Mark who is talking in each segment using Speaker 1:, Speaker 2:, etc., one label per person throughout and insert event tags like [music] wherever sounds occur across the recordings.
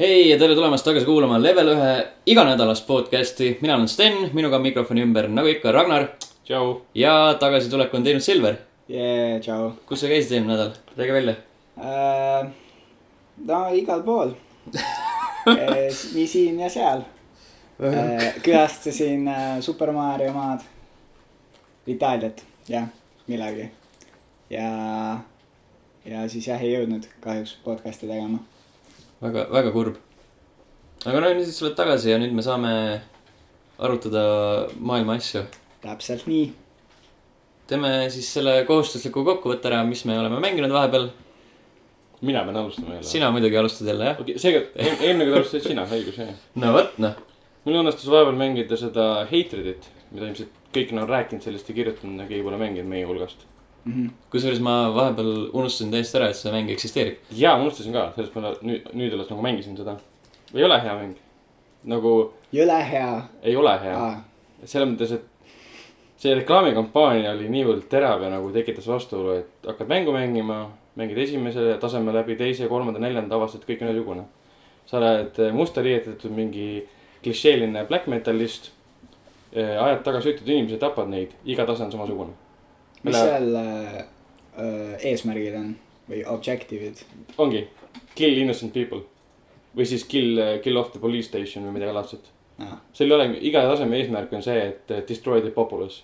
Speaker 1: hei ja tere tulemast tagasi kuulama Level ühe iganädalast podcasti , mina olen Sten , minuga on mikrofoni ümber , nagu ikka , Ragnar
Speaker 2: tšau .
Speaker 1: ja tagasitulek on teinud Silver .
Speaker 3: jee , tšau
Speaker 1: kus sa käisid eelmine nädal , räägi välja .
Speaker 3: äh, . no igal pool äh, , nii siin ja seal äh, . külastasin äh, Super Mario maad , Itaaliat , jah , millalgi . ja , ja siis jah , ei jõudnud kahjuks podcast'i tegema .
Speaker 1: väga , väga kurb . aga no nüüd sa oled tagasi ja nüüd me saame arutada maailma asju .
Speaker 3: täpselt nii ,
Speaker 1: teeme siis selle kohustusliku kokkuvõtte ära , mis me oleme mänginud vahepeal .
Speaker 2: mina pean alustama jälle .
Speaker 1: sina muidugi alustad jälle , jah ?
Speaker 2: okei okay, , seekord , eelmine kord alustasid sina , õigus jah .
Speaker 1: no vot , noh .
Speaker 2: mul õnnestus vahepeal mängida seda Hatredit , mida ilmselt kõik on rääkinud sellest ja kirjutanud , aga keegi pole mänginud meie hulgast .
Speaker 3: Mhm.
Speaker 1: kusjuures ma vahepeal unustasin täiesti ära , et see mäng eksisteerib .
Speaker 2: jaa , ma unustasin ka , sellest ma nüüd , nüüd alles nagu mängisin seda . ei ole hea mäng . nagu
Speaker 3: jõle hea .
Speaker 2: ei ole hea . selles mõttes , et see reklaamikampaania oli niivõrd terav ja nagu tekitas vastuolu , et hakkad mängu mängima , mängid esimese taseme läbi , teise , kolmanda , neljanda , avastad , kõik on ühesugune . sa oled musta riietatud mingi klišeeline black metalist , ajad taga süütud inimesi , tapad neid , iga tase on samasugune .
Speaker 3: mis seal äh, äh, eesmärgid on või objective'id ?
Speaker 2: ongi kill innocent people või siis kill , kill off the police station või midagi laadset
Speaker 3: Ah.
Speaker 2: seal ei ole , iga taseme eesmärk on see , et eh, destroy the populace .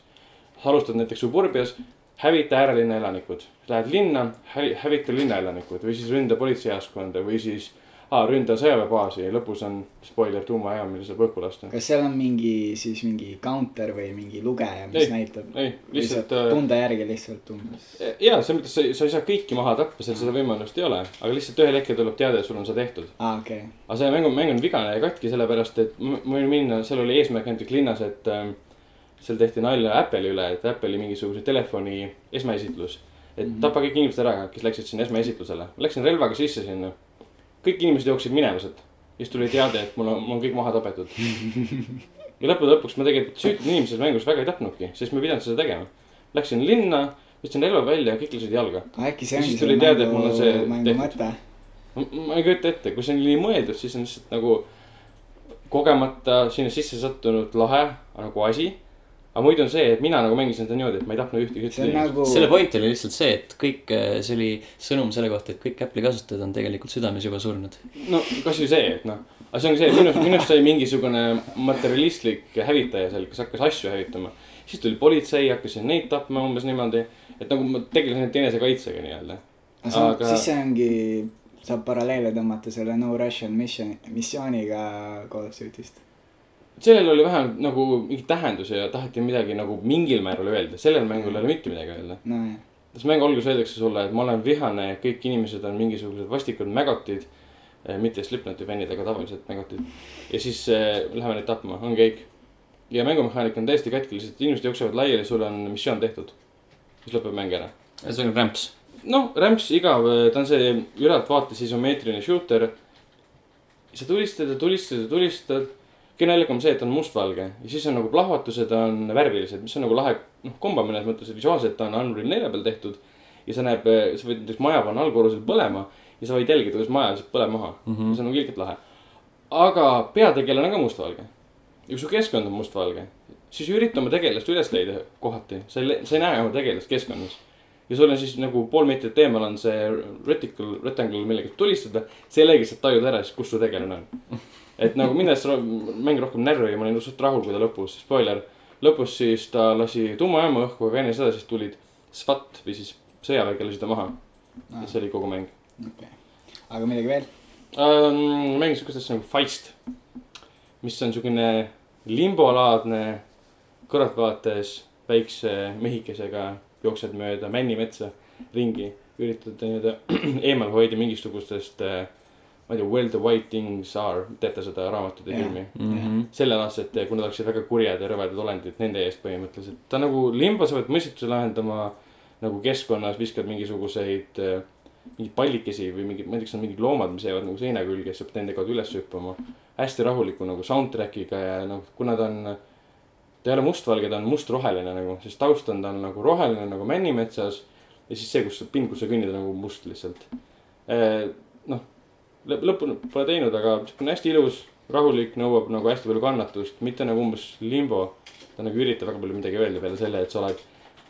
Speaker 2: alustad näiteks suburbias , hävita äärelinna elanikud , lähed linna , hävita linnaelanikud või siis ründa politseijaoskonda või siis ah, ründa sõjaväebaasi ja lõpus on spoiler tuumajaam , mille saab õhku lasta .
Speaker 3: kas seal on mingi siis mingi counter või mingi lugeja , mis
Speaker 2: Ei,
Speaker 3: näitab ?
Speaker 2: ei , lihtsalt äh,
Speaker 3: Lihtsalt tunde järgi lihtsalt umbes .
Speaker 2: eh, ja selles mõttes sa, sa ei saa kõiki maha tappa , seal seda võimalust ei ole , aga lihtsalt ühel hetkel tuleb teade , et sul on see tehtud .
Speaker 3: aa , okei .
Speaker 2: aga see mäng on , mäng on vigane ja katki , sellepärast et ma ma võin minna , seal oli eesmärk näiteks linnas , et ähm, seal tehti nalja Apple'i üle , et Apple'i mingisuguse telefoni esmaesitlus . et mm -hmm. tapa kõik inimesed ära , kes läksid sinna esmaesitlusele . Läksin relvaga sisse sinna . kõik inimesed jooksid minema sealt . siis tuli teade , et mul on , mul on kõik maha tapetud . ja lõppude lõpuks ma tegelikult süütud inimesi selles mängus väga ei tapnudki , sest ma ei pidanud seda tegema . Läksin linna , võtsin relva välja ja kõik lasid jalga .
Speaker 3: äkki see
Speaker 2: Ja
Speaker 3: ongi
Speaker 2: siis tuli teada, et mul on see
Speaker 3: mängu
Speaker 2: tehtud.
Speaker 3: mõte .
Speaker 2: ma ma ei kujuta ette , kui see on nii mõeldud , siis on lihtsalt nagu kogemata sinna sisse sattunud lahe nagu asi . aga muidu on see , et mina nagu mängisin seda niimoodi , et ma ei tahtnud ühtegi
Speaker 3: see on . nagu ,
Speaker 1: selle point oli lihtsalt see , et kõik , see oli sõnum selle kohta , et kõik Apple'i kasutajad on tegelikult südames juba surnud .
Speaker 3: nagu-
Speaker 2: no kasvõi see , et noh , aga see ongi see , et minust , minust sai mingisugune materjalistlik hävitaja seal , kes hakkas asju hävitama . siis tuli politsei , hakkasin neid tapma umbes niimoodi , et nagu ma tegelesin ainult enesekaitsega nii-öelda .
Speaker 3: see on ,
Speaker 2: aga-
Speaker 3: siis see ongi , saab paralleele tõmmata selle No Russian Mission , missiooniga Call of Duty'st .
Speaker 2: sellel oli vähem nagu mingi tähendus ja taheti midagi nagu mingil määral öelda , sellel mängul ei ole mitte midagi öelda .
Speaker 3: nojah ,
Speaker 2: kas mängu alguses öeldakse sulle , et ma olen vihane , kõik inimesed on mingisugused vastikud mägatid , mitte Slipknoti fännid , aga tavalised mägatid . ja siis äh, läheme neid tapma , ongi kõik . ja mängumehaanika on täiesti katki , lihtsalt inimesed jooksevad laiali , sul on missioon tehtud . siis lõpeb mäng ära .
Speaker 1: see on rämps .
Speaker 2: noh , rämps igav , ta on see ülaltvaates isomeetriline shooter . sa tulistad ja tulistad ja tulistad . kõige naljakam on see , et on mustvalge ja siis on nagu plahvatused on värvilised , mis on nagu lahe , noh , komba mõnes mõttes , et visuaalselt ta on Unreal nelja peal tehtud . ja sa näeb , sa võid näiteks maja panna allkorrusel põlema ja sa võid jälgida , kuidas maja lihtsalt põleb maha mm . -hmm. see on nagu ilgelt lahe . aga peategelane on ka mustvalge ja kui su keskkond on mustvalge , siis ürita oma tegelast üles leida kohati , sa ei , sa ei näe oma tegelast keskkonnas . ja sul on siis nagu pool meetrit eemal on see reticle , rectangle , millega saab tulistada , sellega saad tajuda ära siis , kus su tegelane on . et nagu minnes ro- mäng rohkem närvi ja ma olin suht rahul , kui ta lõpus , spoiler , lõpus siis ta lasi tuumajaama õhku , aga enne seda siis tulid SWAT või siis sõjaväge lasi ta maha . ja see oli kogu mäng
Speaker 3: okei . aga midagi veel ?
Speaker 2: um, . mängis siukest asja nagu Feist , mis on siukene limbolaadne , kõrvaltvaates väikse mehikesega jooksed mööda männimetsa ringi , üritad nii-öelda [clears throat] eemal hoida mingisugustest , ma ei tea , Where the white things are , teate seda raamatut ja
Speaker 3: Jah.
Speaker 2: filmi .
Speaker 1: -hmm.
Speaker 2: sellelaadsed , kui nad oleksid väga kurjad ja rõvedad olendid , nende eest põhimõtteliselt . ta nagu limba , sa pead mõistuse lahendama nagu keskkonnas , viskad mingisuguseid , mingeid pallikesi või mingeid , ma ei tea , kas on mingid loomad , mis jäävad nagu seina külge , siis sa pead nende kaudu üles hüppama . hästi rahuliku nagu soundtrack'iga ja noh , kuna ta on , ta ei ole mustvalge , ta on mustroheline nagu , siis taust on tal nagu roheline nagu männimetsas . ja siis see , kus sa pind , kus sa kõnnid , on nagu must lihtsalt . Äh, noh , lõpuni pole teinud , aga siukene hästi ilus , rahulik , nõuab nagu hästi palju kannatust , mitte nagu umbes limbo . ta nagu ei ürita väga palju midagi öelda peale selle , et sa oled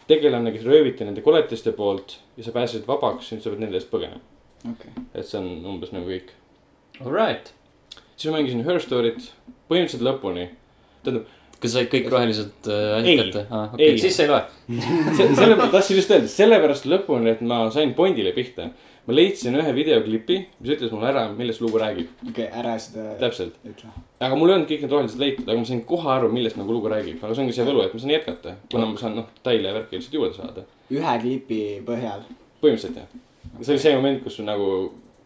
Speaker 2: tegelane , kes rööviti nende koletiste poolt ja sa pääsesid vabaks , nüüd sa pead nende eest põgenema .
Speaker 3: okei okay. .
Speaker 2: et see on umbes nagu kõik .
Speaker 1: Alright .
Speaker 2: siis ma mängisin Her Storyt põhimõtteliselt lõpuni . tähendab ,
Speaker 1: kas said kõik rohelised äh,
Speaker 2: Ei.
Speaker 1: asjad kätte ? aa , okei
Speaker 2: Ei. ,
Speaker 1: siis [laughs] sa ei loe .
Speaker 2: [laughs] selle , tahtsin just öelda , sellepärast lõpuni , et ma sain Bondile pihta . ma leidsin ühe videoklipi , mis ütles mulle ära , millest lugu räägib ,
Speaker 3: okei okay, , ära seda
Speaker 2: täpselt .
Speaker 3: ütle .
Speaker 2: aga mul ei olnud kõik need rohelised leitud , aga ma sain kohe aru , millest nagu lugu räägib , aga see ongi see võlu , et ma saan jätkata , kuna ma saan noh , detaile ja värki lihtsalt juurde saada .
Speaker 3: ühe klipi põhjal .
Speaker 2: põhimõtteliselt jah . see oli see moment , kus sul nagu ,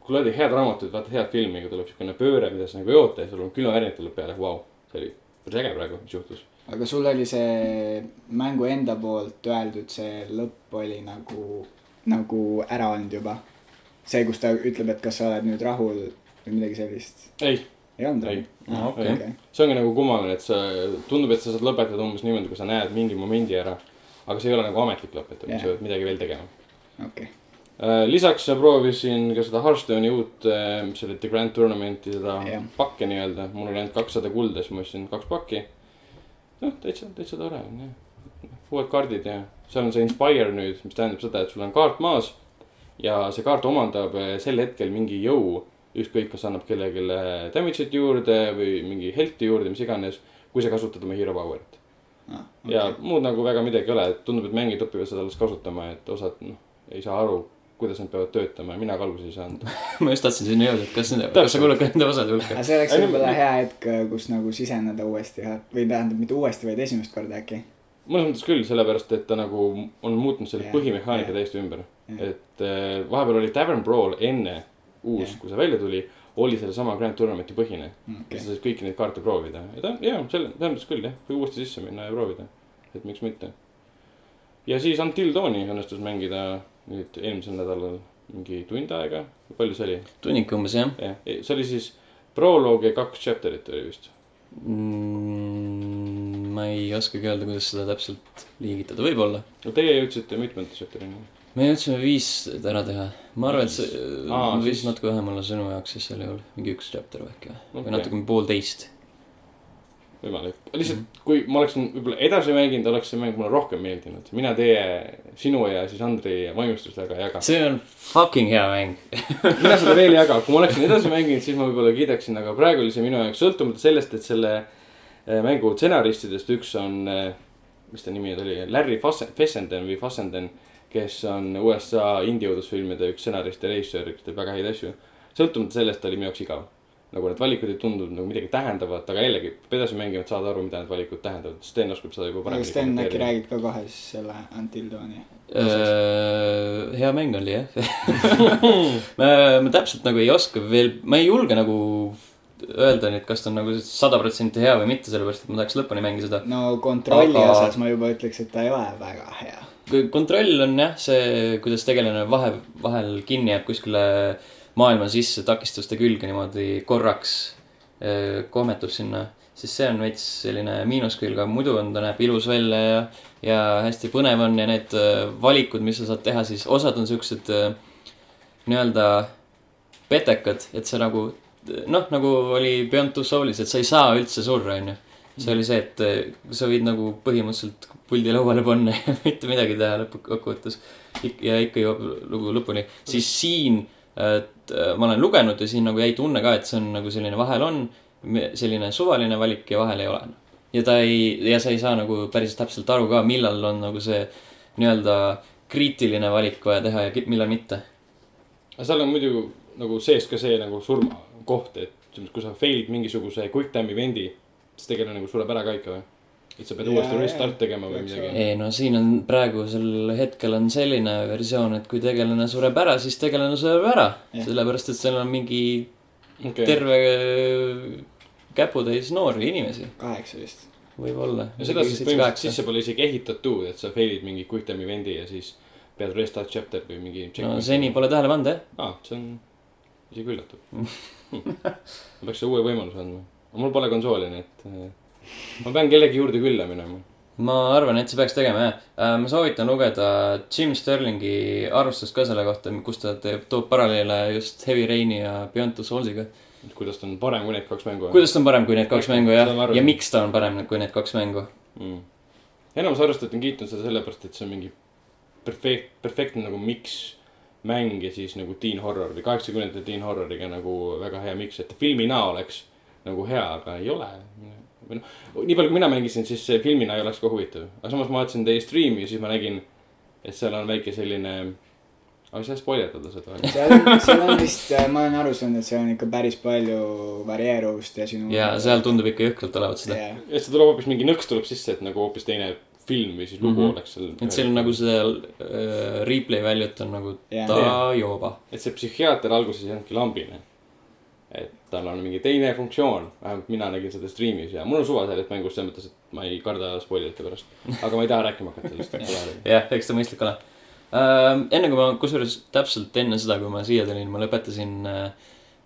Speaker 2: kui loed head raamatut , vaata head filmi , kui tuleb siukene pööre , mida sa nagu ei oota ja sul on külmavärnid tuleb peale , vau . see oli päris äge praegu , mis juhtus .
Speaker 3: aga sul oli see mängu enda poolt öeldud , see lõpp oli nagu , nagu ära olnud juba . see , kus ta ütleb , et kas sa oled nüüd rahul või midagi sellist .
Speaker 2: ei ,
Speaker 3: ei olnud
Speaker 2: ei ,?
Speaker 1: okei.
Speaker 2: see ongi nagu kummaline , et sa , tundub , et sa saad lõpetada umbes niimoodi , kui sa näed mingi momendi ära . aga see ei ole nagu ametlik lõpetamine , sa
Speaker 3: Jah.
Speaker 2: pead midagi veel tegema .
Speaker 3: okei ,
Speaker 2: Äh, lisaks ma proovisin ka seda Hearthstone'i uut , mis oli The Grand Tournament'i seda
Speaker 3: Jah.
Speaker 2: pakke nii-öelda , mul oli ainult kakssada kulda , siis ma ostsin kaks pakki . noh , täitsa , täitsa tore on jah , uued kaardid ja seal on see Inspire nüüd , mis tähendab seda , et sul on kaart maas ja see kaart omandab äh, sel hetkel mingi jõu , ükskõik , kas annab kellelegi damage'it juurde või mingi health'i juurde , mis iganes , kui sa kasutad oma hero power'it .
Speaker 3: okei .
Speaker 2: ja muud nagu väga midagi ei ole , et tundub , et mängijad õpivad seda alles kasutama , et osad noh , ei saa aru , kuidas nad peavad töötama ja mina ka alguses ei saanud .
Speaker 1: ma just tahtsin sinna jõuda , et kas nende , kas sa kuulad ka nende osade hulka ?
Speaker 3: aga see oleks
Speaker 2: Ei, no-
Speaker 3: võib-olla hea hetk , kus nagu siseneda uuesti ja- või tähendab , mitte uuesti , vaid esimest korda äkki .
Speaker 2: mõnes mõttes küll , sellepärast et ta nagu on muutnud selle
Speaker 3: Jah,
Speaker 2: põhimehaanika
Speaker 3: jah.
Speaker 2: täiesti ümber .
Speaker 3: Jah.
Speaker 2: et eh, vahepeal oli Tavern Brawl enne uus
Speaker 3: Jah. ,
Speaker 2: kui see välja tuli , oli sellesama Grand Tournamenti põhine . ja
Speaker 3: Mm, okei ,
Speaker 2: sa said kõiki neid kaarte proovida ja ta , jaa , selle , selles mõttes küll jah , võib uuesti sisse minna ja proovida . et miks mitte . ja siis Until Dawni õnnestus mängida nüüd eelmisel nädalal mingi tund aega . palju see oli ?
Speaker 1: tunnik umbes jah
Speaker 2: jah , see oli siis proloog ja kaks chapter'it oli vist .
Speaker 1: mm, . ma ei oskagi öelda , kuidas seda täpselt liigitada , võib-olla .
Speaker 2: no teie jõudsite mitmenda chapter'ini .
Speaker 1: me jõudsime viis ära teha . ma arvan , et see
Speaker 2: Aa,
Speaker 1: äh, võis
Speaker 2: siis-
Speaker 1: natuke vähem olla sinu jaoks siis sel juhul , mingi üks chapter või äkki või okay. ,
Speaker 2: Okei.
Speaker 1: või natuke poolteist .
Speaker 2: võimalik , lihtsalt mm
Speaker 1: Mhm.
Speaker 2: -hmm. kui ma oleksin võib-olla edasi mänginud , oleks see mäng mulle rohkem meeldinud . mina teie , sinu ja siis Andrei vaimustust väga ei jaga .
Speaker 1: see on fucking hea mäng .
Speaker 2: mina seda veel ei jaga , kui ma oleksin edasi mänginud , siis ma võib-olla kiidaksin , aga praegu oli see minu jaoks sõltumata sellest , et selle eh, mängu stsenaristidest üks on , mis ta nimi nüüd oli , Larry Fasse- Fessenden või Fassenden , kes on USA indie-õudusfilmide üks stsenarist ja režissöör , kes teeb väga häid asju . sõltumata sellest ta oli minu jaoks igav . nagu need valikud ei tundunud nagu midagi tähendavat , aga jällegi , peab edasi mängima , et saada aru , mida need valikud tähendavad . Sten oskab seda juba
Speaker 3: aga
Speaker 2: paremini
Speaker 3: Sten äkki
Speaker 2: kommenteerida .
Speaker 3: räägib ka kohe siis selle Until Dawni .
Speaker 1: Äh, hea mäng oli jah ma , ma täpselt nagu ei oska veel , ma ei julge nagu öelda nüüd , kas ta on nagu sada protsenti hea või mitte , sellepärast et ma tahaks lõpuni mängida seda .
Speaker 3: no kontrolli
Speaker 1: Aga-
Speaker 3: aga... osas ma juba ütleks , et ta ei ole väga hea .
Speaker 1: kontroll on jah , see , kuidas tegelane vahe , vahel kinni jääb kuskile maailma sisse takistuste külge niimoodi korraks eh, kohmetub sinna , siis see on veits selline miinuskülg , aga muidu on , ta näeb ilus välja ja , ja hästi põnev on ja need eh, valikud , mis sa saad teha , siis osad on siuksed eh, nii-öelda petekad , et sa nagu noh , nagu oli Beyond Two Soulis , et sa ei saa üldse surra , onju . see oli see , et eh, sa võid nagu põhimõtteliselt puldi lauale panna ja [laughs] mitte midagi teha lõppkokkuvõttes . ja ikka jõuab lugu lõpuni , siis siin , et eh, ma olen lugenud ja siin nagu jäi tunne ka , et see on nagu selline vahel on me- selline suvaline valik ja vahel ei ole . ja ta ei , ja sa ei saa nagu päris täpselt aru ka , millal on nagu see nii-öelda kriitiline valik vaja teha ja ki- millal mitte .
Speaker 2: aga seal on muidu nagu sees ka see nagu surmakoht , et selles mõttes, kui sa fail'id mingisuguse quick time event'i , siis tegelane nagu sureb ära ka ikka või ? et sa pead
Speaker 3: Jaa,
Speaker 2: uuesti
Speaker 3: jaa.
Speaker 2: restart tegema või
Speaker 3: Peaks
Speaker 2: midagi .
Speaker 1: ei no siin on praegusel hetkel on selline versioon , et kui tegelane sureb ära , siis tegelane sureb ära
Speaker 3: Jah.
Speaker 1: yeah. . sellepärast , et seal on mingi
Speaker 2: okei ,
Speaker 1: terve äh, käputäis noori inimesi ,
Speaker 3: kaheksa vist .
Speaker 1: võib-olla .
Speaker 2: ja seda siis põhimõtteliselt sisse pole isegi ehitatud , et sa fail'id mingi quick time event'i ja siis pead restart chapter või mingi .
Speaker 1: no seni . pole tähele pannud jah .
Speaker 2: aa , see on isegi
Speaker 1: [laughs]
Speaker 2: üllatav . ma äh, peaks selle uue võimaluse andma . mul pole konsooli , nii et eh, ma pean kellegi juurde külla minema .
Speaker 1: ma arvan , et see peaks tegema jah . ma soovitan lugeda Jim Sterlingi arvustust ka selle kohta , kus ta teeb , toob paralleele just Heavy Raini ja Beyond Two Soulsiga .
Speaker 2: kuidas ta on parem kui need kaks mängu ?
Speaker 1: kuidas ta on parem kui need kaks mängu jah
Speaker 2: Seda ma , arvan.
Speaker 1: ja miks ta on parem kui need kaks mängu .
Speaker 2: mm. . enamus arvestajad on kiitnud seda sellepärast , et see on mingi perfekt , perfektne nagu miks mäng ja siis nagu teen horrori , kaheksakümnendate teen horroriga nagu väga hea miks , et filmina oleks nagu hea , aga ei ole . või noh , nii palju kui mina mängisin , siis see filmina ei oleks ka huvitav , aga samas ma vaatasin teie striimi ja siis ma nägin , et seal on väike selline , aga ei saa spoilerdada seda .
Speaker 3: seal on , seal on vist , ma olen aru saanud , et seal on ikka päris palju varieeruvust ja sinu .
Speaker 2: Mm.
Speaker 1: ja seal tundub ikka jõhkralt olevat seda .
Speaker 3: jah ,
Speaker 2: ja siis tuleb hoopis mingi nõks tuleb sisse , et nagu hoopis teine film või siis lugu mm
Speaker 1: Mhm.
Speaker 2: -hmm. oleks seal .
Speaker 1: et seal nagu see äh, replay väljut on nagu
Speaker 3: Jah.
Speaker 1: ta jooba .
Speaker 2: et see psühhiaater alguses ei olnudki lambine . et tal on mingi teine funktsioon , vähemalt mina nägin seda striimis ja mul on suva sellest mängust selles mõttes , et ma ei karda spoilite pärast . aga ma ei taha rääkima hakata sellest .
Speaker 1: jah , eks ta mõistlik ole äh, . enne kui ma , kusjuures täpselt enne seda , kui ma siia tulin , ma lõpetasin äh,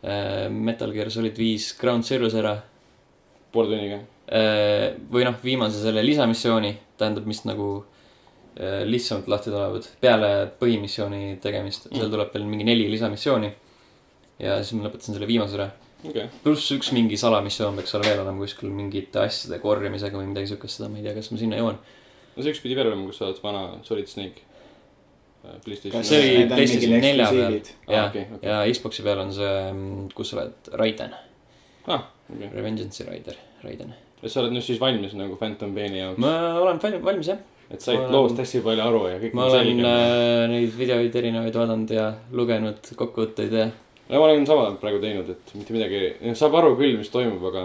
Speaker 1: äh, Metal Gear Solid viis Ground Zeroes ära
Speaker 2: poole tunniga .
Speaker 1: äh, . või noh , viimase selle lisamissiooni , tähendab , mis nagu äh, lihtsamalt lahti tulevad peale põhimissiooni tegemist , seal
Speaker 3: Mm.
Speaker 1: tuleb veel mingi neli lisamissiooni . ja siis ma lõpetasin selle viimase ära .
Speaker 2: okei okay. ,
Speaker 1: pluss üks mingi salamissioon peaks seal veel olema kuskil mingite asjade korjamisega või midagi siukest , seda ma ei tea , kas ma sinna jõuan .
Speaker 2: no see üks pidi veel olema , kus sa oled vana Solid Snake . PlayStation .
Speaker 1: see oli
Speaker 3: Need on
Speaker 1: PlayStation
Speaker 3: mingid
Speaker 1: nelja peal
Speaker 3: eksklusiivid. .
Speaker 2: Aa,
Speaker 1: ja
Speaker 2: Ah, okei, , okei.
Speaker 1: ja Xbox'i peal on see , kus sa oled , Raiden ,
Speaker 2: ah , okei okay. .
Speaker 1: Revengeance'i Raider , Raiden .
Speaker 2: et sa oled nüüd siis valmis nagu Phantom Paini jaoks ,
Speaker 1: ma olen val- valmis jah ,
Speaker 2: et said
Speaker 1: ma olen-
Speaker 2: loost hästi palju aru ja kõik
Speaker 1: ma olen . äh, neid videoid erinevaid vaadanud ja lugenud kokkuvõtteid ja
Speaker 2: no ma olen sama praegu teinud , et mitte midagi , saab aru küll , mis toimub , aga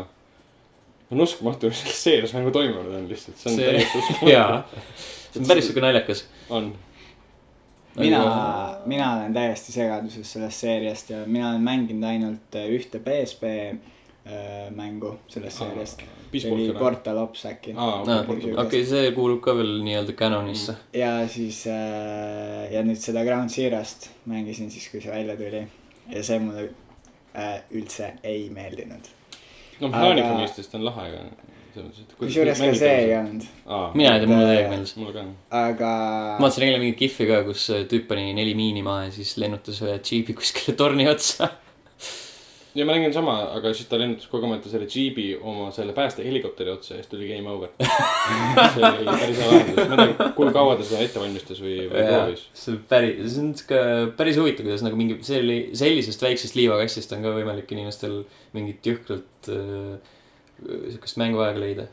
Speaker 2: on uskumatu , mis [laughs] selles seeres nagu toimunud on lihtsalt , see on
Speaker 1: See-
Speaker 2: täiesti uskumatu .
Speaker 1: jaa , [laughs] see on päris siuke naljakas .
Speaker 2: on ,
Speaker 3: mina ,
Speaker 1: Nagu-
Speaker 3: mina olen täiesti segaduses sellest seeriast ja mina olen mänginud ainult äh, ühte PSP äh, mängu sellest
Speaker 2: Aa,
Speaker 3: seeriast .
Speaker 2: Peace
Speaker 3: see oli
Speaker 2: Walker.
Speaker 3: Portal Ops äkki .
Speaker 2: aa , okei
Speaker 1: okei , okay, , see kuulub ka veel nii-öelda canonisse .
Speaker 3: ja siis äh, ja nüüd seda Ground Zero'st mängisin siis , kui see välja tuli ja see mulle äh, üldse ei meeldinud .
Speaker 2: no mehaanika
Speaker 3: aga-
Speaker 2: mõistest on lahe , aga selles mõttes , et
Speaker 3: kusjuures ka see ei olnud ,
Speaker 2: Ah,
Speaker 1: mina ei tea , mulle täiega
Speaker 3: Äh,
Speaker 1: meeldis .
Speaker 2: mulle ka .
Speaker 3: aga
Speaker 1: ma vaatasin eile mingit kihvi ka , kus tüüp pani neli miini maha ja siis lennutas ühe džiibi kuskile torni otsa .
Speaker 2: ja ma nägin sama , aga siis ta lennutas kogemata selle džiibi oma selle päästehelikopteri otsa ja siis tuli game
Speaker 1: [laughs]
Speaker 2: over . see oli päris hea lahendus , ma ei tea , kui kaua ta seda ette valmistas või , või
Speaker 1: Jaa,
Speaker 2: proovis .
Speaker 1: see on päris , see on sihuke päris huvitav , kuidas nagu mingi selli- , sellisest väiksest liivakastist on ka võimalik inimestel mingit jõhkralt äh, sihukest mänguaega leida .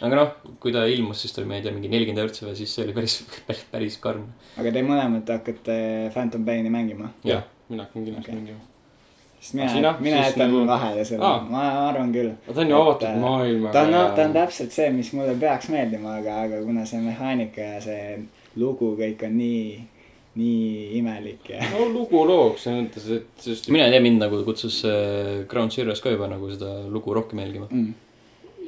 Speaker 1: aga noh , kui ta ilmus , siis ta oli , ma ei tea , mingi nelikümmend eurtsi või siis see oli päris , [laughs] päris , päris karm .
Speaker 3: aga te mõlemad hakkate Phantom Paini mängima ,
Speaker 2: jah , mina hakkan kindlasti
Speaker 3: Okei.
Speaker 2: mängima .
Speaker 3: sest mina
Speaker 2: Aga sina? ,
Speaker 3: mina
Speaker 2: Siis
Speaker 3: jätan
Speaker 2: nagu-
Speaker 3: vahele selle
Speaker 2: Aa. ,
Speaker 3: ma arvan küll .
Speaker 2: aga ta on ju
Speaker 3: Et,
Speaker 2: avatud
Speaker 3: äh,
Speaker 2: maailmaga .
Speaker 3: ta on , ta on täpselt see , mis mulle peaks meeldima , aga , aga kuna see mehaanika ja see lugu kõik on nii , nii imelik ja
Speaker 2: no lugu looks , selles mõttes , et sest
Speaker 1: mina ei tea , mind nagu kutsus äh, Ground Zeroes ka juba nagu seda lugu rohkem jälgima .
Speaker 3: mm.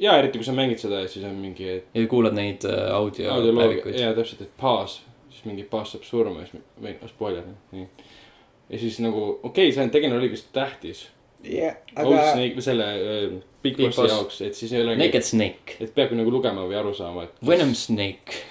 Speaker 2: ja eriti kui sa mängid seda ja siis on mingi , et
Speaker 1: ja kuulad neid äh, audio
Speaker 2: audioloog ,
Speaker 1: päevikuid .
Speaker 2: jaa täpselt , et baas , siis mingi baas saab surma ja siis mi- või noh , spoiler , nii . ja siis nagu okei okay, , see on tegelikult oli vist tähtis
Speaker 3: ja
Speaker 2: aga... . Old
Speaker 3: aga
Speaker 2: Snake või selle äh, Big
Speaker 1: Big
Speaker 2: Bossi
Speaker 1: Boss.
Speaker 2: jaoks , et siis ei olegi ,
Speaker 1: Naked Snake ,
Speaker 2: et peabki nagu lugema või aru saama , et
Speaker 1: Venom Snake .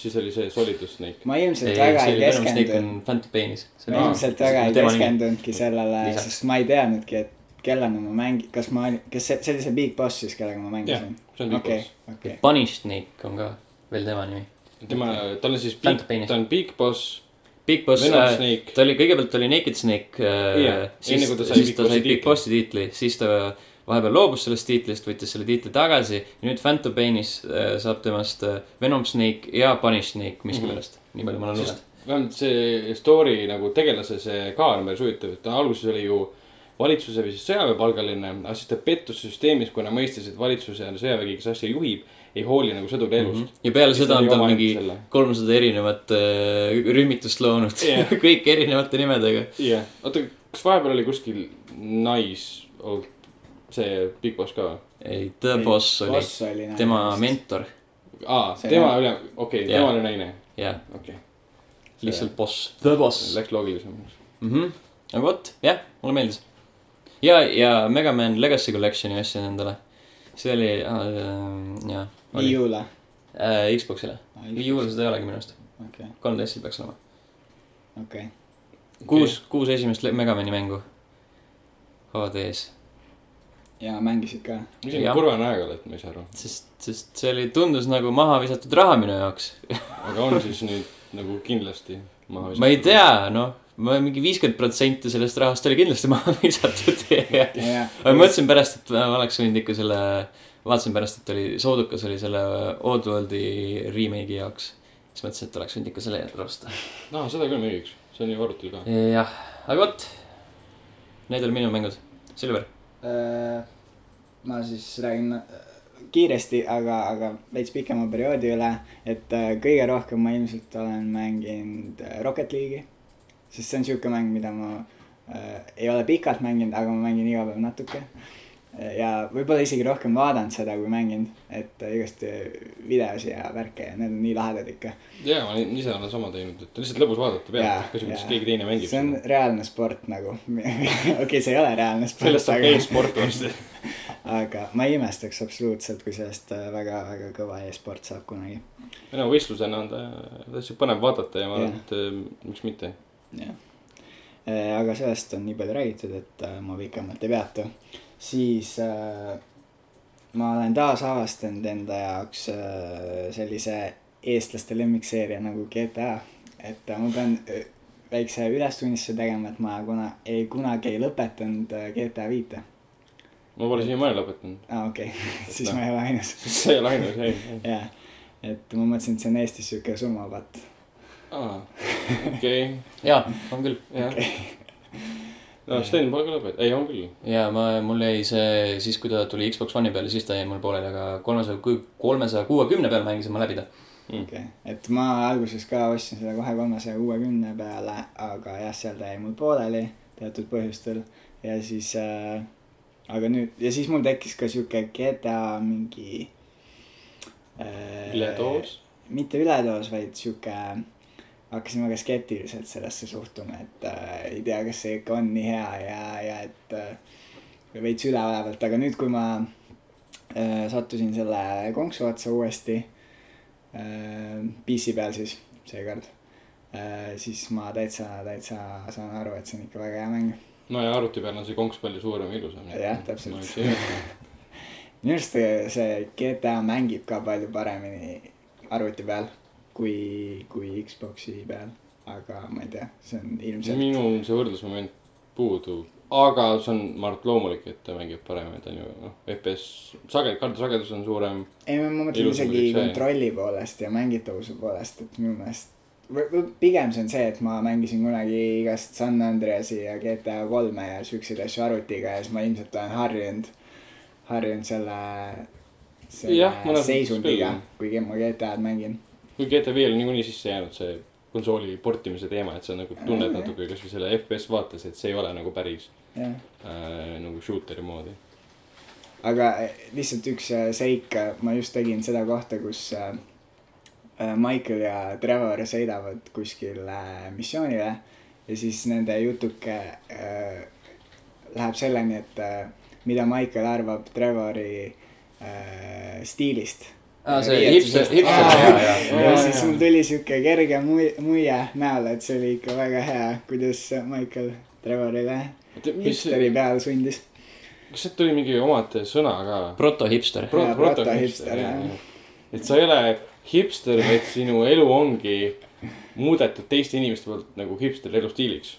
Speaker 2: siis oli see Solidus Snake .
Speaker 3: ma ilmselt väga ei
Speaker 1: Venom Snake
Speaker 3: keskendunud
Speaker 1: on Phantom Painis .
Speaker 3: ma ilmselt väga ei . keskendunudki sellele ,
Speaker 1: Lisaks.
Speaker 3: sest ma ei teadnudki , et kellega ma mängin , kas ma , kas see , see oli see Big Boss siis , kellega ma
Speaker 2: jah
Speaker 3: mängisin ?,
Speaker 2: see on Big
Speaker 3: okei
Speaker 2: okay. ,
Speaker 3: okei .
Speaker 1: Punish Snake on ka veel tema nimi .
Speaker 2: Boss . tema , tal on siis ,
Speaker 1: Phantom Painis.
Speaker 2: ta on Big Boss ,
Speaker 1: Big Boss ,
Speaker 2: Venom
Speaker 1: äh,
Speaker 2: Snake ,
Speaker 1: ta oli , kõigepealt oli Naked Snake
Speaker 2: Jah,
Speaker 1: äh, , siis
Speaker 2: enne kui , ta sai
Speaker 1: siis
Speaker 2: Big
Speaker 1: ta
Speaker 2: Bossi
Speaker 1: sai Big
Speaker 2: tiitli.
Speaker 1: Bossi tiitli , siis ta vahepeal loobus sellest tiitlist , võttis selle tiitli tagasi ja nüüd Phantom Painis äh, saab temast äh, Venom Snake ja Punish Snake miskipärast
Speaker 2: Mhm.
Speaker 1: mm , -hmm. nii palju ma olen
Speaker 2: Sest-
Speaker 1: lugenud .
Speaker 2: vähemalt see story nagu tegelase see ka on päris huvitav , et ta alguses oli ju valitsuse või siis sõjaväepalgaline , aga siis ta pettus süsteemis , kuna mõistis , et valitsuse ja sõjavägi , kes asja juhib , ei hooli nagu sõduri elust mm .
Speaker 1: ja peale seda on tal mingi
Speaker 2: jah
Speaker 1: kolmsada erinevat äh, rühmitust loonud
Speaker 2: Jah.
Speaker 1: yeah. , [laughs] kõik erinevate nimedega .
Speaker 2: yeah. , oota , kas vahepeal oli kuskil nais nice, , see Big Boss ka või ?
Speaker 1: ei , ta boss oli ,
Speaker 3: boss oli nagu
Speaker 1: tema . mentor ,
Speaker 2: aa ,
Speaker 3: See
Speaker 2: tema
Speaker 3: jah.
Speaker 2: üle , okei okay, ,
Speaker 1: Jah.
Speaker 2: tema oli naine ,
Speaker 1: jah ,
Speaker 2: okei okay. .
Speaker 1: lihtsalt boss , the boss .
Speaker 2: Läks loogilisemaks .
Speaker 1: mhmh , Mhm. aga vot , jah , mulle meeldis . ja , ja Mega Man Legacy Collection'i ostsin endale . see oli , äh, jaa .
Speaker 3: Viiule .
Speaker 1: äh, Xboxile .
Speaker 3: Aa, Xbox.
Speaker 1: Wii U-l seda ei olegi minu arust ,
Speaker 3: okei ,
Speaker 1: 3DS-il peaks olema .
Speaker 3: okei .
Speaker 1: kuus , kuus esimest Le- Megamani mängu HD-s ,
Speaker 3: ja mängisid ka ?
Speaker 2: mis siin
Speaker 1: Jah.
Speaker 2: kurva näoga oled , ma ei saa aru .
Speaker 1: sest , sest see oli , tundus nagu maha visatud raha minu jaoks .
Speaker 2: aga on siis nüüd nagu kindlasti maha
Speaker 1: ma ei . tea , noh , ma mingi viiskümmend protsenti sellest rahast oli kindlasti maha visatud . [laughs] aga
Speaker 3: jah ,
Speaker 1: ma mõtlesin pärast , et ma oleks võinud ikka selle , vaatasin pärast , et oli soodukas oli selle Oddworldi remake'i jaoks . siis mõtlesin , et oleks võinud ikka selle järgi osta .
Speaker 2: aa , seda küll müüks , see on ju arvutil ka .
Speaker 1: jah , aga vot . Need olid minu mängud . Silver ,
Speaker 3: Äh, ma siis räägin äh, kiiresti , aga , aga veits pikema perioodi üle , et äh, kõige rohkem ma ilmselt olen mänginud äh, Rocket League'i , sest see on siuke mäng , mida ma äh, ei ole pikalt mänginud , aga ma mängin iga päev natuke . ja võib-olla isegi rohkem vaadanud seda , kui mänginud , et äh, igast äh, videosi ja värke ja need on nii lahedad ikka .
Speaker 2: jaa , ma nii- ise olen sama teinud , et lihtsalt lõbus vaadata peab , kas kuidas keegi teine mängib
Speaker 3: see on
Speaker 2: seda .
Speaker 3: reaalne sport nagu , [laughs] okei , see ei ole reaalne sport .
Speaker 2: sellest saab
Speaker 3: aga-
Speaker 2: e-sport varsti .
Speaker 3: aga ma ei imestaks absoluutselt , kui sellest äh, väga-väga kõva e-sport saab kunagi .
Speaker 2: no nagu võistlusena on ta täitsa põnev vaadata ja ma arvan ,
Speaker 3: Jah.
Speaker 2: et eh, miks mitte .
Speaker 3: jah . aga sellest on nii palju räägitud , et äh, ma pikemalt ei peatu . siis äh, ma olen taasavastanud enda jaoks äh, sellise eestlaste lemmikseeria nagu GTA , et äh, ma pean äh, väikse ülestunnistuse tegema , et ma kuna , ei kunagi ei lõpetanud äh, GTA viite .
Speaker 2: ma pole siiamaani lõpetanud . [laughs]
Speaker 3: aa , okei , [laughs] siis ma ei ole ainus .
Speaker 2: see ei ole ainus jäi .
Speaker 3: jaa , et ma mõtlesin , et see on Eestis siuke surmapatt .
Speaker 2: aa , okei ,
Speaker 1: jaa , on küll .
Speaker 2: jah . no Sten pole ka lõpetanud , ei on küll .
Speaker 1: ja ma , mul jäi see siis , kui ta tuli Xbox One'i peale , siis ta jäi mul pooleli , aga kolmesaja , kolmesaja kuuekümne peal mängisin ma läbi ta .
Speaker 3: okei , et ma alguses ka ostsin seda kohe kolmesaja kuuekümne peale , aga jah , seal ta jäi mul pooleli teatud põhjustel ja siis äh, , aga nüüd ja siis mul tekkis ka sihuke GTA mingi äh,
Speaker 2: üledoos .
Speaker 3: mitte üledoos , vaid sihuke , hakkasime ka skeptiliselt sellesse suhtuma , et äh, ei tea , kas see ikka on nii hea ja , ja et äh, veits üleolevalt , aga nüüd , kui ma äh, sattusin selle konksu otsa uuesti äh, , PC peal siis seekord äh, , siis ma täitsa , täitsa saan aru , et see on ikka väga hea mäng .
Speaker 2: no ja arvuti peal on see konks palju suurem ja ilusam .
Speaker 3: Jah, täpselt.
Speaker 2: ma üldse ei imesta .
Speaker 3: minu arust see- see GTA mängib ka palju paremini arvuti peal kui , kui Xbox'i peal , aga ma ei tea , see on ilmselt
Speaker 2: minul see võrdlusmoment puudub , aga see on , ma arvan , et loomulik , et ta mängib paremini , ta on ju noh , FPS , sagedus , kardusagedus on suurem .
Speaker 3: ei , ma mõtlen
Speaker 2: Ilusam
Speaker 3: isegi
Speaker 2: oli see.
Speaker 3: kontrolli poolest ja mängitavuse poolest , et minu meelest või , või pigem see on see , et ma mängisin kunagi igast San Andreasi ja GTA kolme ja siukseid asju arvutiga ja siis ma ilmselt olen harjunud , harjunud selle ,
Speaker 2: Jah, mõnes
Speaker 3: selle
Speaker 2: mõttes
Speaker 3: seisundiga
Speaker 2: küll. ,
Speaker 3: kui ma GTA-d mängin .
Speaker 2: kui GTA viiel on niikuinii sisse jäänud see konsooli portimise teema , et sa nagu tunned natuke kasvõi selle FPS vaates , et see ei ole nagu päris
Speaker 3: jah
Speaker 2: äh, nagu shooter'i moodi .
Speaker 3: aga lihtsalt üks äh, seik , ma just tegin seda kohta , kus äh, äh, Michael ja Trevor sõidavad kuskile missioonile ja siis nende jutuke äh, läheb selleni , et äh, mida Michael arvab Trevori äh, stiilist .
Speaker 1: aa , see hipster ,
Speaker 3: Riietusest.
Speaker 1: hipster ,
Speaker 3: Aa.
Speaker 1: jaa , jaa .
Speaker 3: ja siis mul tuli siuke kerge mui- , muie näole , et see oli ikka väga hea , kuidas Michael Trevorile
Speaker 2: mis ,
Speaker 3: hipsteri peale sundis .
Speaker 2: kas sealt tuli mingi omad sõna ka ?
Speaker 1: protohipster .
Speaker 2: Pro-
Speaker 3: Jaa,
Speaker 2: proto-
Speaker 3: protohipster,
Speaker 2: jaa,
Speaker 3: jah.
Speaker 2: jah. et sa ei ole hipster , vaid sinu elu ongi muudetud teiste inimeste poolt nagu hipsteri elustiiliks .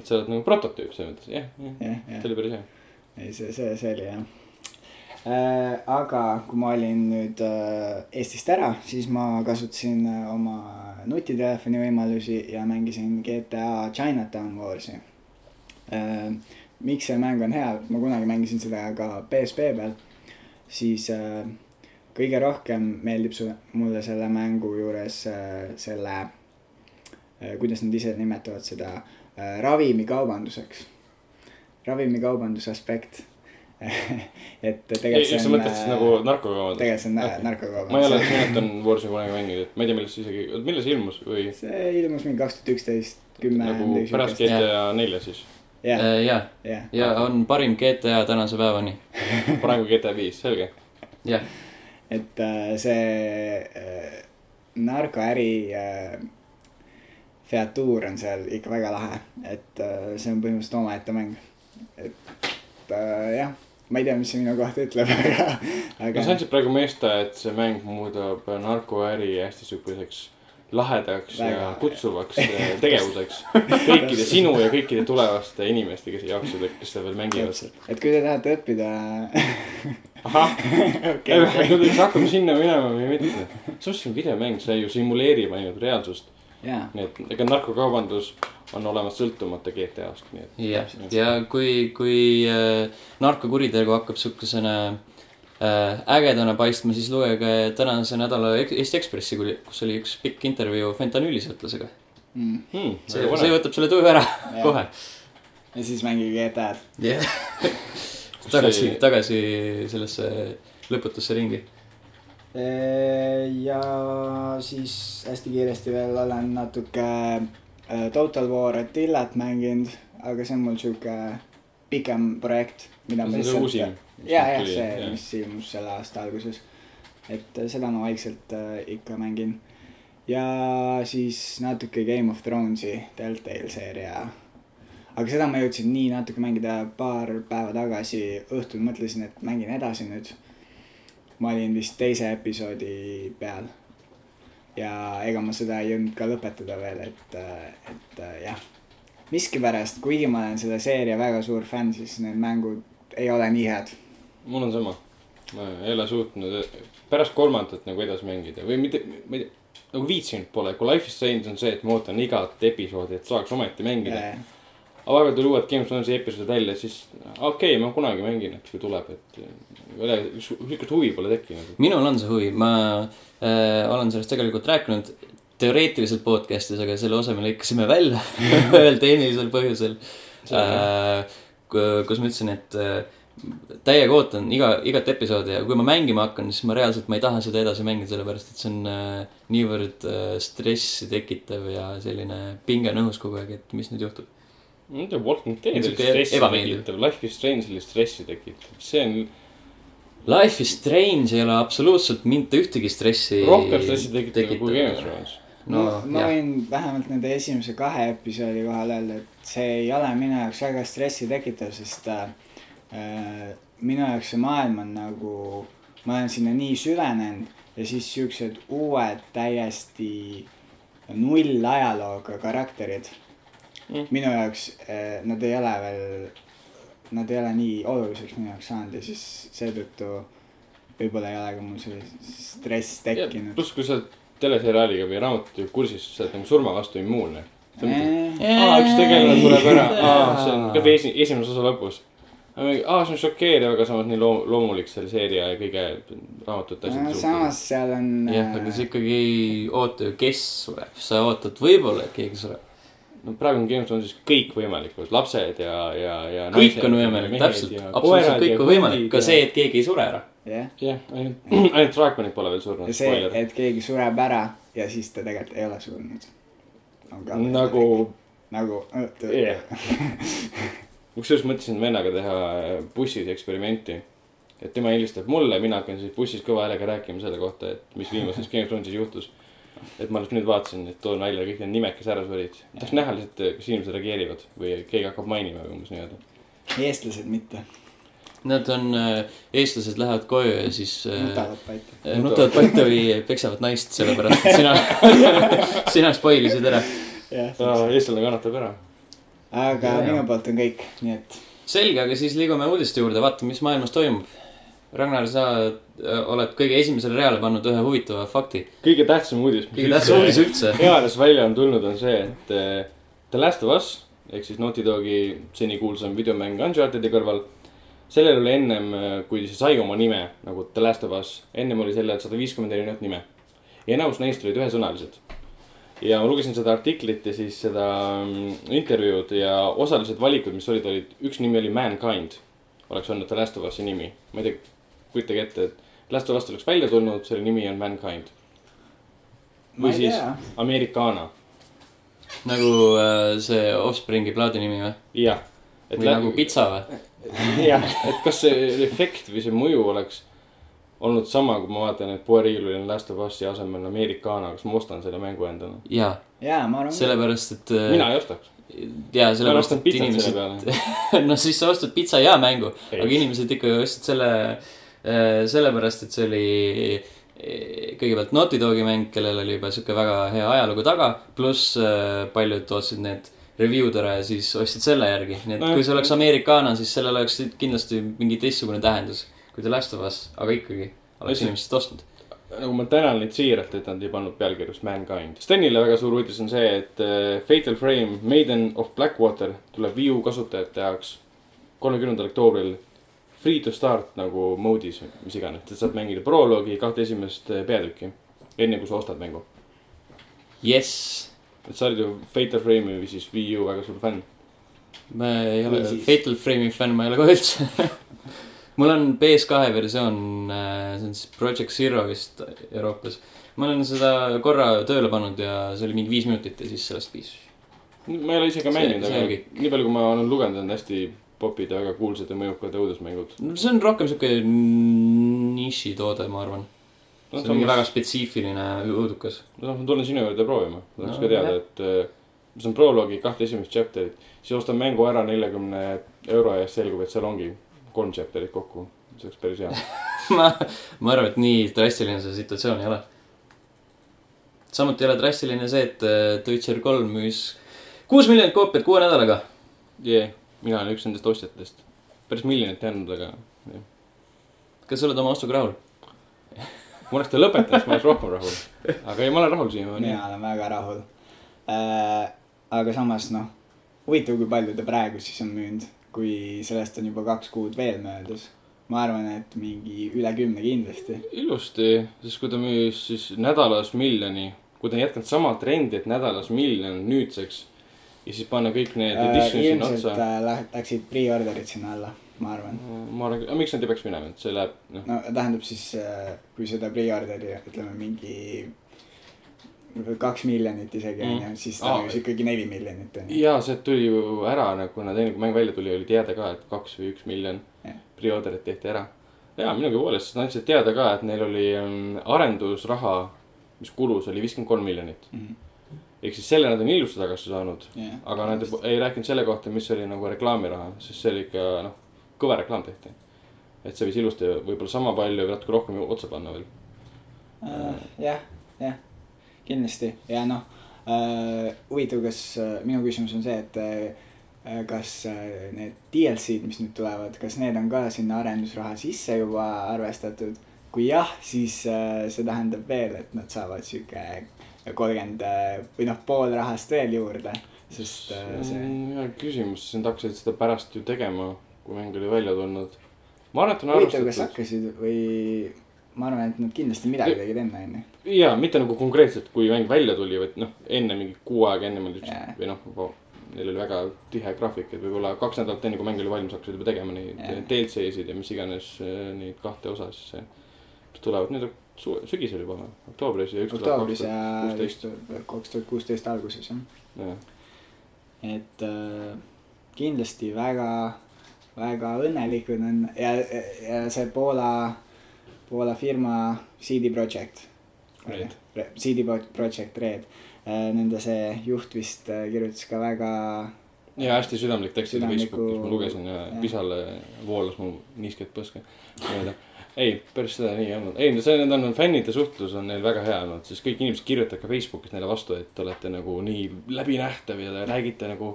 Speaker 2: et sa oled nagu prototüüp selles mõttes , jah , jah ,
Speaker 3: jah , jah .
Speaker 2: see oli päris hea .
Speaker 3: ei , see , see , see oli jah . aga kui ma olin nüüd äh, Eestist ära , siis ma kasutasin äh, oma nutitelefoni võimalusi ja mängisin GTA Chinatown Warsi . Äh, miks see mäng on hea , ma kunagi mängisin seda ka PSP peal , siis äh, kõige rohkem meeldib su- , mulle selle mängu juures äh, selle , kuidas nad ise nimetavad seda , ravimikaubanduseks ravimikaubanduse aspekt . [laughs] et tegelikult see
Speaker 2: sa
Speaker 3: on .
Speaker 2: mõtled siis nagu narkokaubandust ?
Speaker 3: tegelikult see on äh, narkokaubandus .
Speaker 2: ma ei ole Chinatown Warsi kunagi mänginud , et ma ei tea , millal see isegi , millal see ilmus või
Speaker 3: see ilmus mingi kaks tuhat üksteist , kümme .
Speaker 2: nagu pärast GTA nelja siis ,
Speaker 3: jah ,
Speaker 1: Äh, jaa ,
Speaker 3: jah ,
Speaker 1: ja on parim GTA tänase päevani .
Speaker 2: praegu GTA viis , selge .
Speaker 1: jah ,
Speaker 3: et äh, see äh, narkoäri äh, featuur on seal ikka väga lahe , et äh, see on põhimõtteliselt omaette mäng . et äh, jah , ma ei tea , mis see minu kohta ütleb , [laughs] aga ,
Speaker 2: no
Speaker 3: aga
Speaker 2: sa andsid praegu mõista , et see mäng muudab narkoäri hästi siukeseks lahedaks Väga. ja
Speaker 3: Väga.
Speaker 2: kutsuvaks eh, tegevuseks kõikide sinu ja kõikide tulevaste inimeste , kes jaoks seda , kes seda veel mängivad .
Speaker 3: täpselt , et kui te tahate õppida [laughs]
Speaker 2: ahah ,
Speaker 3: okay,
Speaker 2: kas hakkame sinna minema või mitte ? samas see on videomäng , see ju simuleerib ainult reaalsust .
Speaker 3: jaa ,
Speaker 2: nii et ega narkokaubandus on olemas sõltumata GTA-st , nii et
Speaker 1: jah , ja kui , kui äh, narkokuritegu hakkab sihukesena äh, ägedana paistma , siis lugege tänase nädala Ek- Eesti Ekspressi , kus oli üks pikk intervjuu fentanüülisõltlasega .
Speaker 2: hmm, .
Speaker 1: see , see võtab selle tuju ära kohe .
Speaker 3: ja siis mängige GTA-d .
Speaker 1: jah .
Speaker 2: Kus
Speaker 1: tagasi
Speaker 2: see- ,
Speaker 1: tagasi sellesse lõputusse ringi .
Speaker 3: ja siis hästi kiiresti veel olen natuke äh, Total War Attilat mänginud , aga see on mul sihuke pikem projekt , mida ma
Speaker 2: See on see uusim,
Speaker 3: lihtsalt .
Speaker 2: mis
Speaker 3: ja , jah ,
Speaker 2: nüüd tuli,
Speaker 3: see
Speaker 2: jah. ,
Speaker 3: mis ilmus selle aasta alguses . et äh, seda ma vaikselt äh, ikka mängin . ja siis natuke Game of Thronesi Telltale seeria aga seda ma jõudsin nii natuke mängida paar päeva tagasi , õhtul mõtlesin , et mängin edasi nüüd . ma olin vist teise episoodi peal . ja ega ma seda ei jõudnud ka lõpetada veel , et , et äh, jah . miskipärast , kuigi ma olen selle seeria väga suur fänn , siis need mängud ei ole nii head .
Speaker 2: mul on sama . ma ei ole suutnud pärast kolmandat nagu edasi mängida või mitte , ma ei tea , nagu viitsinud pole , kui Life is Strange on see , et ma ootan igat episoodi , et saaks ometi mängida . aga vahepeal tuli uued Game of Thrones'i episoodid välja , siis okei okay, , ma kunagi mängin , et kui tuleb , et ei ole , niisugust huvi pole tekkinud .
Speaker 1: minul on see huvi , ma äh, olen sellest tegelikult rääkinud teoreetiliselt podcast'is , aga selle osa me lõikasime välja [laughs] ühel tehnilisel põhjusel äh, . kus ma ütlesin , et äh, täiega ootan iga , igat episoodi ja kui ma mängima hakkan , siis ma reaalselt , ma ei taha seda edasi mängida , sellepärast et see on äh, niivõrd äh, stressi tekitav ja selline pinge on õhus kogu aeg , et mis nüüd juhtub .
Speaker 2: ma ei tea , Walking Dead oli
Speaker 1: Niisugune
Speaker 2: stressi
Speaker 1: ebameeldiv.
Speaker 2: tekitav , Life is Strange oli stressi tekitav , see on
Speaker 1: Life is Strange ei ole absoluutselt mitte ühtegi stressi .
Speaker 2: rohkem stressi tekitav kui Game of Thrones .
Speaker 1: no
Speaker 3: no, ma
Speaker 1: jah ,
Speaker 3: võin vähemalt nende esimese kahe episoodi kohal öelda , et see ei ole minu jaoks väga stressi tekitav , sest äh, äh, minu jaoks see maailm on nagu , ma olen sinna nii süvenenud ja siis siuksed uued täiesti null ajalooga karakterid
Speaker 2: Mm.
Speaker 3: mm. . minu jaoks äh, nad ei ole veel , nad ei ole nii oluliseks minu jaoks saanud ja siis seetõttu võib-olla ei ole ka mul see stress tekkinud .
Speaker 2: pluss , kui sa oled teleseriaaliga või raamatuga kursis , siis sa oled nagu surma vastu immuunne .
Speaker 3: Äh.
Speaker 2: aa , üks tegelane tuleb
Speaker 1: [laughs]
Speaker 2: ära , aa , see on ka esi- , esimese osa lõpus . aa , see on šokeeriv , aga samas nii loo- , loomulik selle seeria ja kõige
Speaker 3: no,
Speaker 2: raamatute asjade suhtes .
Speaker 3: Äh, samas seal on äh,
Speaker 1: jah ,
Speaker 2: nagu
Speaker 1: aga sa ikkagi ei oota ju , kes sureb , sa ootad võib-olla , et keegi sureb .
Speaker 2: no praegu on Game of Thronesis kõik võimalikud , lapsed ja , ja , ja .
Speaker 1: kõik on võimalik , täpselt , absoluutselt kõik on võimalik , ka see , et keegi ei sure ära .
Speaker 3: jah ,
Speaker 2: jah , ainult , ainult draakonid pole veel surnud ,
Speaker 3: ja see ,
Speaker 2: spoiler .
Speaker 3: et keegi sureb ära ja siis ta tegelikult ei ole surnud .
Speaker 2: nagu ,
Speaker 3: nagu ,
Speaker 2: jah . kusjuures mõtlesin vennaga teha äh, bussis eksperimenti . et tema helistab mulle , mina hakkan siis bussis kõva häälega rääkima selle kohta , et mis viimases Game of Thronesis juhtus . et ma alles nüüd vaatasin , et toon välja kõik need nimed , kes ära surid . tahaks näha lihtsalt , kas inimesed reageerivad või keegi hakkab mainima või umbes nii-öelda .
Speaker 3: eestlased mitte ,
Speaker 1: Nad on , eestlased lähevad koju ja siis äh,
Speaker 3: nutavad paita .
Speaker 1: äh, nutavad patta või peksavad naist , sellepärast et sina , [laughs] sina spoilisid ära .
Speaker 3: jah ,
Speaker 2: eestlane kannatab ära .
Speaker 3: aga
Speaker 1: Jaa.
Speaker 3: minu poolt on kõik , nii et
Speaker 1: selge , aga siis liigume uudiste juurde , vaatame , mis maailmas toimub . Ragnar , sa äh, oled kõige esimesele reale pannud ühe huvitava fakti .
Speaker 2: kõige tähtsam uudis .
Speaker 1: kõige tähtsam uudis üldse .
Speaker 2: eales välja on tulnud , on see , et eh, The Last of Us ehk siis Naughty Dogi seni kuulsam videomäng Uncharted'i kõrval . sellel oli ennem , kui see sai oma nime nagu The Last of Us , ennem oli sellel sada viiskümmend erinevat nime . ja enamus neist olid ühesõnalised . ja ma lugesin seda artiklit ja siis seda mm, intervjuud ja osalised valikud , mis olid , olid , üks nimi oli Mankind . oleks olnud The Last of Us'i nimi , ma ei tea , kujutage ette , et Last of Us oleks välja tulnud , selle nimi on Mankind .
Speaker 3: ma
Speaker 2: või
Speaker 3: ei
Speaker 2: siis
Speaker 3: tea ,
Speaker 2: Americana
Speaker 1: nagu äh, see Offspringi plaadi nimi või ?
Speaker 2: jah , et nagu [laughs]
Speaker 1: või nagu pitsa või ?
Speaker 2: jah , et kas see efekt või see mõju oleks olnud sama , kui ma vaatan , et poeriiulil on Last of Us'i asemel Americana , kas ma ostan selle mängu endale ?
Speaker 1: jaa ,
Speaker 3: jaa , ma arvan ,
Speaker 1: sellepärast , et .
Speaker 2: mina ei ostaks .
Speaker 1: jaa ,
Speaker 2: ma
Speaker 1: sellepärast ,
Speaker 2: ostan
Speaker 1: et
Speaker 2: pitsat selle
Speaker 1: inimesed ,
Speaker 2: peale .
Speaker 1: [laughs] no siis sa ostad pitsa ja mängu ,
Speaker 2: Ei.
Speaker 1: aga inimesed ikka ostsid selle , sellepärast , et see oli eh, kõigepealt Naughty Dogi mäng , kellel oli juba sihuke väga hea ajalugu taga , pluss eh, paljud ostsid need review'd ära ja siis ostsid selle järgi . nii et
Speaker 2: Nojah.
Speaker 1: kui see oleks Americana , siis sellel oleks kindlasti mingi teistsugune tähendus kui The Last of Us , aga ikkagi oleks
Speaker 2: Tõsi.
Speaker 1: inimesed ostnud .
Speaker 2: nagu ma tänan neid siiralt , et nad ei pannud pealkirjast Mankind . Stenile väga suur uudis on see , et äh, Fatal Frame Maiden of Blackwater tuleb Wii U kasutajate jaoks kolmekümnendal oktoobril free to start nagu mode'is , mis iganes . sa saad mängida proloogi kahte esimest äh, peatükki , enne kui sa ostad mängu .
Speaker 1: jess ,
Speaker 2: et sa olid ju Fatal Frame'i või siis Wii U väga suur fänn .
Speaker 1: ma ei ole
Speaker 3: Või siis-
Speaker 1: Fatal Frame'i fänn , ma ei ole ka üldse . [laughs] mul on PS2 versioon , see on siis Project Zero vist Euroopas . ma olen seda korra tööle pannud ja see oli mingi viis minutit ja siis sellest piis .
Speaker 2: ma ei ole ise ka
Speaker 1: See-
Speaker 2: mänginud ,
Speaker 1: see
Speaker 2: aga
Speaker 1: oli
Speaker 2: nii palju , kui ma olen lugenud , on hästi popid ja väga kuulsad ja mõjukad õudusmängud .
Speaker 1: no see on rohkem sihuke nišitoode , ma arvan . see on mingi väga
Speaker 2: samas ,
Speaker 1: spetsiifiline õudukas . [laughs]
Speaker 2: noh , Noh, ma tulen sinu juurde proovima , tahaks
Speaker 1: No,
Speaker 2: ka teada
Speaker 1: jah. ,
Speaker 2: et eh, see on proloogi kahte esimest chapter'it , siis ostan mängu ära neljakümne euro eest , selgub , et seal ongi kolm chapter'it kokku , see oleks päris hea .
Speaker 1: ma , ma arvan , et nii drastiline see situatsioon ei ole . samuti ei ole drastiline see , et äh, The Witcher kolm müüs kuus miljonit koopiat kuue nädalaga .
Speaker 2: [laughs] jee , mina olen üks nendest ostjatest , päris miljonit jäänud , aga jah.
Speaker 1: kas sa oled oma ostuga rahul ?
Speaker 2: ma oleks ta lõpetanud , siis ma oleks rohkem [laughs] rahul . aga ei , ma olen rahul siiamaani .
Speaker 3: mina olen väga rahul . aga samas noh , huvitav , kui palju ta praegu siis on müünud , kui sellest on juba kaks kuud veel möödas . ma arvan , et mingi üle kümne kindlasti .
Speaker 2: ilusti , sest kui ta müüs siis nädalas miljoni , kui ta on jätkanud sama trendi , et nädalas miljon nüüdseks ja siis panna kõik need edition'id sinna
Speaker 3: Äh, ilmselt
Speaker 2: otsa .
Speaker 3: äh, lä- läksid pre-order'id sinna alla , ma arvan .
Speaker 2: ma arvan , miks nad ei peaks minema , et see läheb , noh ,
Speaker 3: no tähendab siis , kui seda pre-order'i ütleme mingi kaks miljonit isegi
Speaker 2: Mm.
Speaker 3: onju , siis ta
Speaker 2: Aa.
Speaker 3: müüs ikkagi neli miljonit onju .
Speaker 2: ja sealt tuli ju ära nagu , kuna teine kui mäng välja tuli , oli teada ka , et kaks või üks miljon
Speaker 3: Jah.
Speaker 2: pre-order'it tehti ära . ja minugi poolest , nad andsid teada ka , et neil oli mm, arendusraha , mis kulus , oli viiskümmend kolm miljonit .
Speaker 3: Mhm.
Speaker 2: ehk siis selle nad on ilusti tagasi saanud .
Speaker 3: jah ,
Speaker 2: aga nad juba ei rääkinud selle kohta , mis oli nagu reklaamiraha , sest see oli ikka noh , kõva reklaam tehti . et see võis ilusti võib-olla sama palju või natuke rohkem otsa panna veel .
Speaker 3: Äh, jah , jah , kindlasti ja noh , huvitav , kas äh, minu küsimus on see , et äh, kas äh, need DLC-d , mis nüüd tulevad , kas need on ka sinna arendusraha sisse juba arvestatud ? kui jah , siis äh, see tähendab veel , et nad saavad sihuke kolmkümmend või noh , pool rahast veel juurde , sest äh,
Speaker 2: see
Speaker 3: see
Speaker 2: on Mm, hea küsimus , nad hakkasid seda pärast ju tegema , kui mäng oli välja tulnud . ma arvan , et on
Speaker 3: huvitav , kas
Speaker 2: arvestatud .
Speaker 3: hakkasid või ma arvan , et nad kindlasti midagi tegid enne , onju .
Speaker 2: jaa , mitte nagu konkreetselt , kui mäng välja tuli , vaid noh , enne mingi kuu aega ennem oli
Speaker 3: Jaa.
Speaker 2: üks või noh , juba neil oli väga tihe graafik , et võib-olla kaks nädalat enne , kui mäng oli valmis , hakkasid juba tegema neid
Speaker 3: Jaa.
Speaker 2: DLC-sid ja mis iganes eh, neid kahte osa siis , mis tulevad nüüd su- sügisel juba või , oktoobris ja üks
Speaker 3: oktoobris ja
Speaker 2: kuusteist .
Speaker 3: kaks tuhat kuusteist alguses , jah .
Speaker 2: jah ,
Speaker 3: et äh, kindlasti väga , väga õnnelikud on ja , ja see Poola , Poola firma CD Projekt .
Speaker 2: Red. .
Speaker 3: CD Pro- Projekt Red , nende see juht vist äh, kirjutas ka väga ,
Speaker 2: ja hästi südamlik tekst oli
Speaker 3: Südamliku-
Speaker 2: Facebookis , ma lugesin ja
Speaker 3: jah.
Speaker 2: pisale voolas mu niisket põske mööda . ei , päris seda nii ei olnud , ei no see , need on fännide suhtlus on neil väga hea olnud , sest kõik inimesed kirjutavad ka Facebookis neile vastu , et te olete nagu nii läbinähtav ja te räägite nagu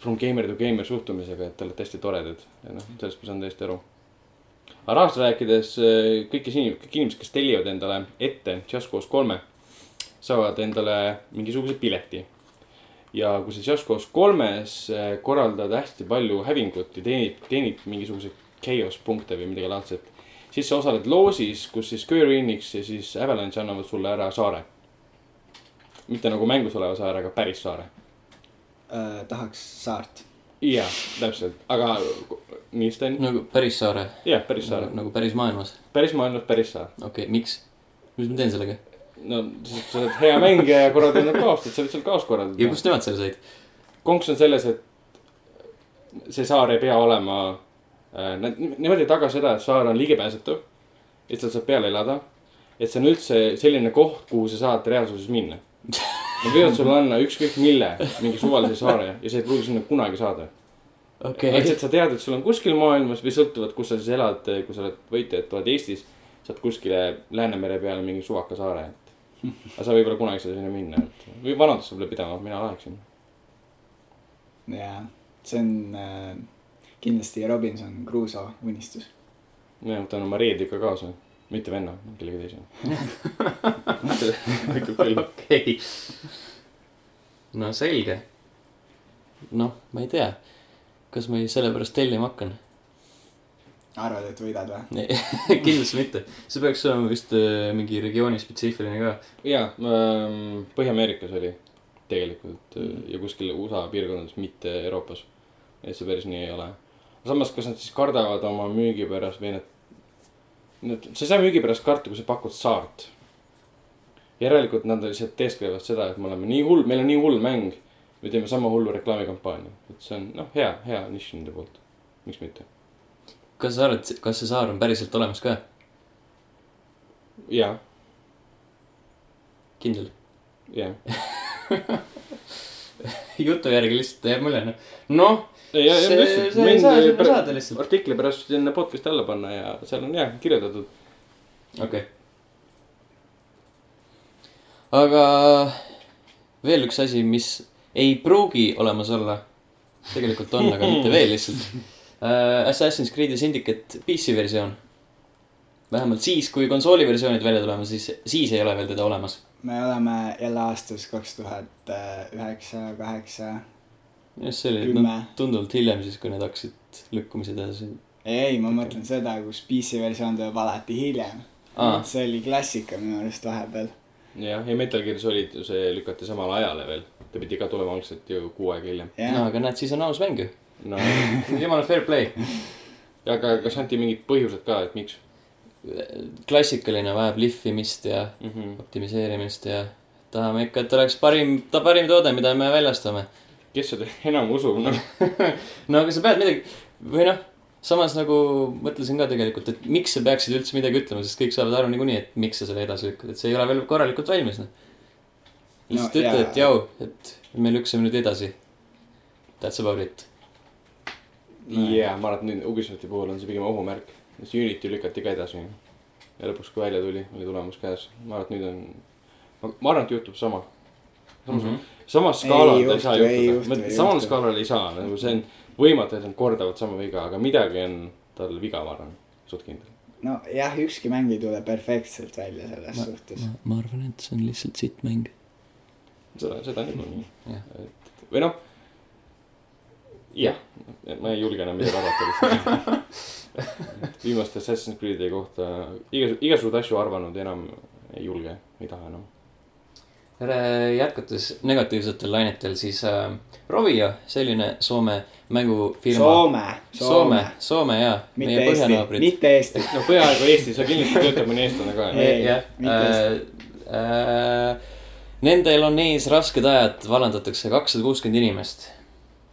Speaker 2: from gamer to gamer suhtumisega , et te olete hästi toredad ja noh , sellest ma saan täiesti aru . aga rahast rääkides , kõik , kes inimesed , kõik inimesed , kes tellivad endale ette Just Cause kolme , saavad endale mingisuguse pileti ja kui sa Just Cause kolmes eh, korraldad hästi palju hävingut ja teenid , teenid mingisuguseid chaos punkte või midagi laadset , siis sa osaled loosis , kus siis Köörinix ja siis Avalanche annavad sulle ära saare . mitte nagu mängus oleva saare , aga päris saare .
Speaker 3: äh, tahaks saart .
Speaker 2: jaa , täpselt , aga nii Sten ?
Speaker 1: nagu päris saare ,
Speaker 2: jah , päris saare ,
Speaker 1: nagu päris maailmas ,
Speaker 2: päris maailmas päris saar .
Speaker 1: okei okay, , miks ? mis ma teen sellega
Speaker 2: no siis sa oled hea mängija ja korraldad nad kaost , et sa võid seal kaos
Speaker 1: ja
Speaker 2: korraldada .
Speaker 1: kust nemad selle said ?
Speaker 2: konks on selles , et äh, see saar ei pea olema , nemad ei taga seda , et saar on ligipääsetav . et seal saab peale elada , et see on üldse selline koht , kuhu sa saad reaalsuses minna . Nad võivad sulle anda ükskõik mille , mingi suvalise saare ja sa ei pruugi sinna kunagi saada .
Speaker 1: okei okay. .
Speaker 2: lihtsalt sa tead , et sul on kuskil maailmas või sõltuvalt , kus sa siis elad , kui sa oled võitja , et oled Eestis , saad kuskile Läänemere peale mingi suvaka saare , et . aga sa võib-olla kunagi ei saa sinna minna , et või vanadust võib-olla pidama , mina läheksin .
Speaker 3: jaa , see on äh, kindlasti Robinson Crusoe unistus .
Speaker 2: mina võtan oma reedika kaasa , mitte venna , kellegi teise . ikka küll .
Speaker 1: okei okay. . no selge . noh , ma ei tea , kas ma sellepärast tellima hakkan . [laughs]
Speaker 3: arvad , et võidad või ?
Speaker 1: kindlasti mitte , see peaks olema vist äh, mingi regiooni spetsiifiline ka .
Speaker 2: ja , ähm, Põhja-Ameerikas oli tegelikult mm. ja kuskil USA piirkondades , mitte Euroopas . et see päris nii ei ole . samas , kas nad siis kardavad oma müügi pärast või nad , nad , sa ei saa müügi pärast karta , kui sa pakud saart . järelikult nad lihtsalt teesklevad seda , et me oleme nii hull , meil on nii hull mäng . me teeme sama hullu reklaamikampaania , et see on noh , hea , hea nišš nende poolt . miks mitte .
Speaker 1: kas sa arvad , kas see saar on päriselt olemas ka ?
Speaker 2: ja ,
Speaker 1: kindel ? [laughs]
Speaker 2: ja .
Speaker 1: jutu järgi lihtsalt jääb mulje , noh . noh ,
Speaker 2: Ei, ja- ja
Speaker 1: See-
Speaker 2: lihtsalt
Speaker 1: see ei
Speaker 2: mind
Speaker 1: saa
Speaker 2: ei
Speaker 1: sinna
Speaker 2: pär-
Speaker 1: saada lihtsalt.
Speaker 2: artikli pärast sinna podcast'i alla panna ja seal on jah kirjeldatud .
Speaker 1: okei okay. . aga veel üks asi , mis ei pruugi olemas olla . tegelikult on , aga mitte veel
Speaker 3: [laughs]
Speaker 1: lihtsalt uh, . Assassin's Creed'i Syndicate PC versioon . vähemalt siis , kui konsooliversioonid välja tulevad , siis , siis ei ole veel teda olemas .
Speaker 3: me oleme jälle aastas kaks tuhat äh, üheksa , kaheksa ,
Speaker 1: jah , see oli no,
Speaker 3: kümme .
Speaker 1: tunduvalt hiljem siis , kui need hakkasid lükkumised edasi .
Speaker 3: ei , ma mõtlen seda , kus PC versioon tuleb alati hiljem .
Speaker 1: aa ,
Speaker 3: see oli klassika minu arust vahepeal .
Speaker 2: jah , ja Metal Gear Solid , see lükati samale ajale veel . ta pidi ka tulema algselt ju kuu aega hiljem .
Speaker 1: no
Speaker 3: jah ,
Speaker 1: aga näed , siis on aus mäng ju . [laughs]
Speaker 2: no ,
Speaker 1: jumala fair play .
Speaker 2: aga kas anti mingid põhjused ka , et miks
Speaker 1: klassikaline vajab lihvimist ja
Speaker 2: mm ? -hmm.
Speaker 1: optimiseerimist ja tahame ikka , et oleks parim , ta parim toode , mida me väljastame . [laughs]
Speaker 2: kes seda enam usub , noh .
Speaker 1: no aga sa pead midagi või noh , samas nagu mõtlesin ka tegelikult , et miks sa peaksid üldse midagi ütlema , sest kõik saavad aru niikuinii , et miks sa selle edasi lükkad , et see ei ole veel korralikult valmis noh . lihtsalt no,
Speaker 3: No
Speaker 1: ütle ,
Speaker 3: jaa.
Speaker 1: et jao , et me lükkame nüüd edasi . That's about it .
Speaker 2: jaa , ma arvan , et nüüd Ubisofti puhul on see pigem ohumärk . sest Unity lükati ka edasi . ja lõpuks , kui välja tuli , oli tulemus käes . ma arvan , et nüüd on , ma arvan , et juhtub sama . samas mm ,
Speaker 1: Mhm.
Speaker 2: -hmm. samas
Speaker 3: Ei
Speaker 2: skaalal ta
Speaker 3: juhtu,
Speaker 2: ei saa
Speaker 3: ei
Speaker 2: juhtuda
Speaker 3: juhtu, . ei
Speaker 2: samal
Speaker 3: juhtu.
Speaker 2: skaalal ei saa , nagu see on võimatu , et nad kordavad sama viga , aga midagi on tal viga , ma arvan , suht kindel .
Speaker 3: nojah , ükski mäng ei tule perfektselt välja selles ma, suhtes .
Speaker 1: ma arvan , et see on lihtsalt sitt mäng .
Speaker 2: seda , seda niikuinii
Speaker 1: Jah. .
Speaker 2: et või noh , jah , ma ei julge enam midagi arvata lihtsalt . viimaste Assassin's Creed'i kohta igas , igasuguseid asju arvanud enam ei julge , ei taha enam .
Speaker 1: Re- jätkates negatiivsetel lainetel , siis äh, Rovio , selline Soome mängufirma .
Speaker 3: Soome ,
Speaker 1: Soome , Soome jaa , meie
Speaker 3: mitte Eesti ,
Speaker 1: põhjanaabrid .
Speaker 3: mitte Eesti .
Speaker 2: no peaaegu Eestis , aga kindlasti töötab mõni eestlane ka .
Speaker 3: Ei.
Speaker 1: jah ,
Speaker 3: mitte
Speaker 1: Nendel on ees rasked ajad , vallandatakse kakssada kuuskümmend inimest .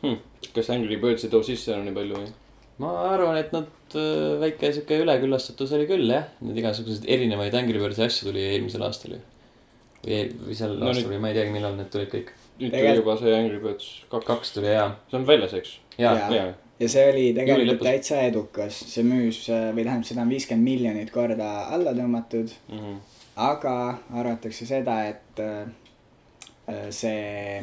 Speaker 2: Hmm, kas Angry Birds ei too sisse enam nii palju või ?
Speaker 1: ma arvan , et nad äh, väike sihuke üleküllastatus oli küll jah , need igasuguseid erinevaid Angry Birds'i asju tuli eelmisel aastal ju . või , või sel
Speaker 2: No
Speaker 1: no, aastal
Speaker 2: nüüd-
Speaker 1: või ma ei teagi , millal need tulid kõik .
Speaker 2: nüüd tuli
Speaker 3: Tegelikult-
Speaker 2: juba see Angry Birds kaks ,
Speaker 1: kaks tuli jaa ,
Speaker 2: see on väljas , eks ?
Speaker 1: jaa ,
Speaker 3: Jaa.
Speaker 2: jaa ,
Speaker 3: ja see oli
Speaker 1: Juuli
Speaker 3: tegelikult
Speaker 1: lõpus.
Speaker 3: täitsa edukas , see müüs äh, või tähendab , seda on viiskümmend miljonit korda alla tõmmatud ,
Speaker 2: Mhm.
Speaker 3: aga arvatakse seda , et äh, see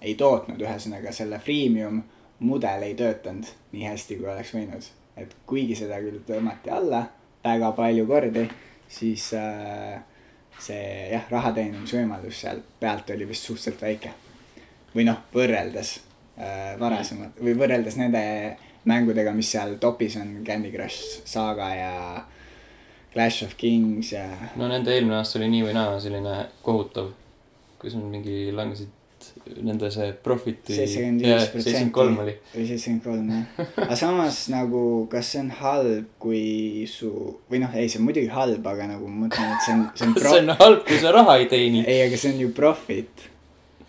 Speaker 3: ei tootnud , ühesõnaga selle freemium mudel ei töötanud nii hästi , kui oleks võinud . et kuigi seda küll tõmmati alla väga palju kordi , siis äh, see jah , raha teenimisvõimalus seal pealt oli vist suhteliselt väike . või noh , võrreldes äh, varasemalt või võrreldes nende mängudega , mis seal topis on , Candy Crush Saga ja Clash of Kings ja
Speaker 1: no nende eelmine aasta oli nii või naa selline kohutav , kus nad mingi langesid , nende see profit'i .
Speaker 3: 75%.
Speaker 1: kolm oli .
Speaker 3: või seitsekümmend kolm jah . aga samas nagu , kas see on halb , kui su või noh , ei , see on muidugi halb , aga nagu ma mõtlen , et see on ,
Speaker 1: [laughs]
Speaker 3: see on
Speaker 1: kas
Speaker 3: pro-
Speaker 1: see , on noh, halb , kui sa raha ei teeni ?
Speaker 3: ei , aga see on ju profit .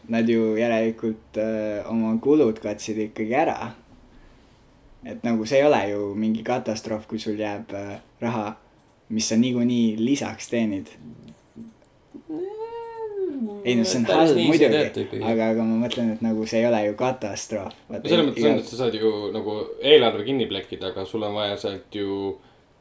Speaker 3: Nad ju järelikult öö, oma kulud katsid ikkagi ära . et nagu see ei ole ju mingi katastroof , kui sul jääb öö, äh, raha mis sa niikuinii lisaks teenid . ei no see on halb muidugi , aga , aga ma mõtlen , et nagu see ei ole ju katastroof .
Speaker 2: selles mõttes on , et sa saad ju nagu eelarve kinni plekkida , aga sul on vaja sealt ju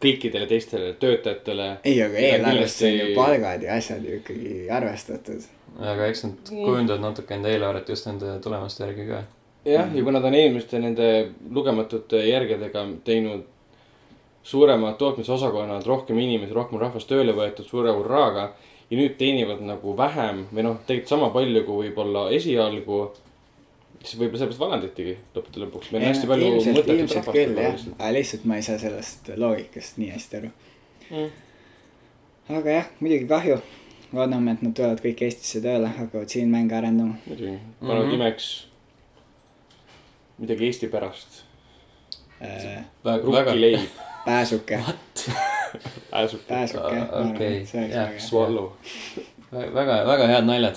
Speaker 2: kõikidele teistele töötajatele .
Speaker 3: ei , aga eelarves on ju palgad ja asjad ju ikkagi arvestatud .
Speaker 1: aga eks nad kujundavad natuke enda eelarvet just nende tulemuste järgi ka .
Speaker 2: jah , ja kuna ta on eelmiste nende lugematute järgedega teinud suuremad tootmisosakonnad , rohkem inimesi , rohkem rahvast tööle võetud suure hurraaga ja nüüd teenivad nagu vähem või noh , tegelikult sama palju kui võib-olla esialgu , siis võib-olla sellepärast vallanditigi lõppude lõpuks . meil on hästi palju
Speaker 3: ilmselt ,
Speaker 2: mõttetut
Speaker 3: ilmselt
Speaker 2: rahvast
Speaker 3: küll
Speaker 2: juba
Speaker 3: jah ,
Speaker 2: lihtsalt.
Speaker 3: aga lihtsalt ma ei saa sellest loogikast nii hästi aru . aga jah , muidugi kahju . loodame , et nad tulevad kõik Eestisse tööle , hakkavad siin mänge arendama .
Speaker 2: muidugi , panevad
Speaker 1: Mhm.
Speaker 2: nimeks midagi Eesti pärast .
Speaker 1: väga , väga .
Speaker 2: rukkileib ,
Speaker 3: Äh, pääsuke ,
Speaker 2: pääsuke ,
Speaker 3: pääsuke .
Speaker 1: Okei, jah,
Speaker 2: swallow .
Speaker 1: väga , väga head naljad .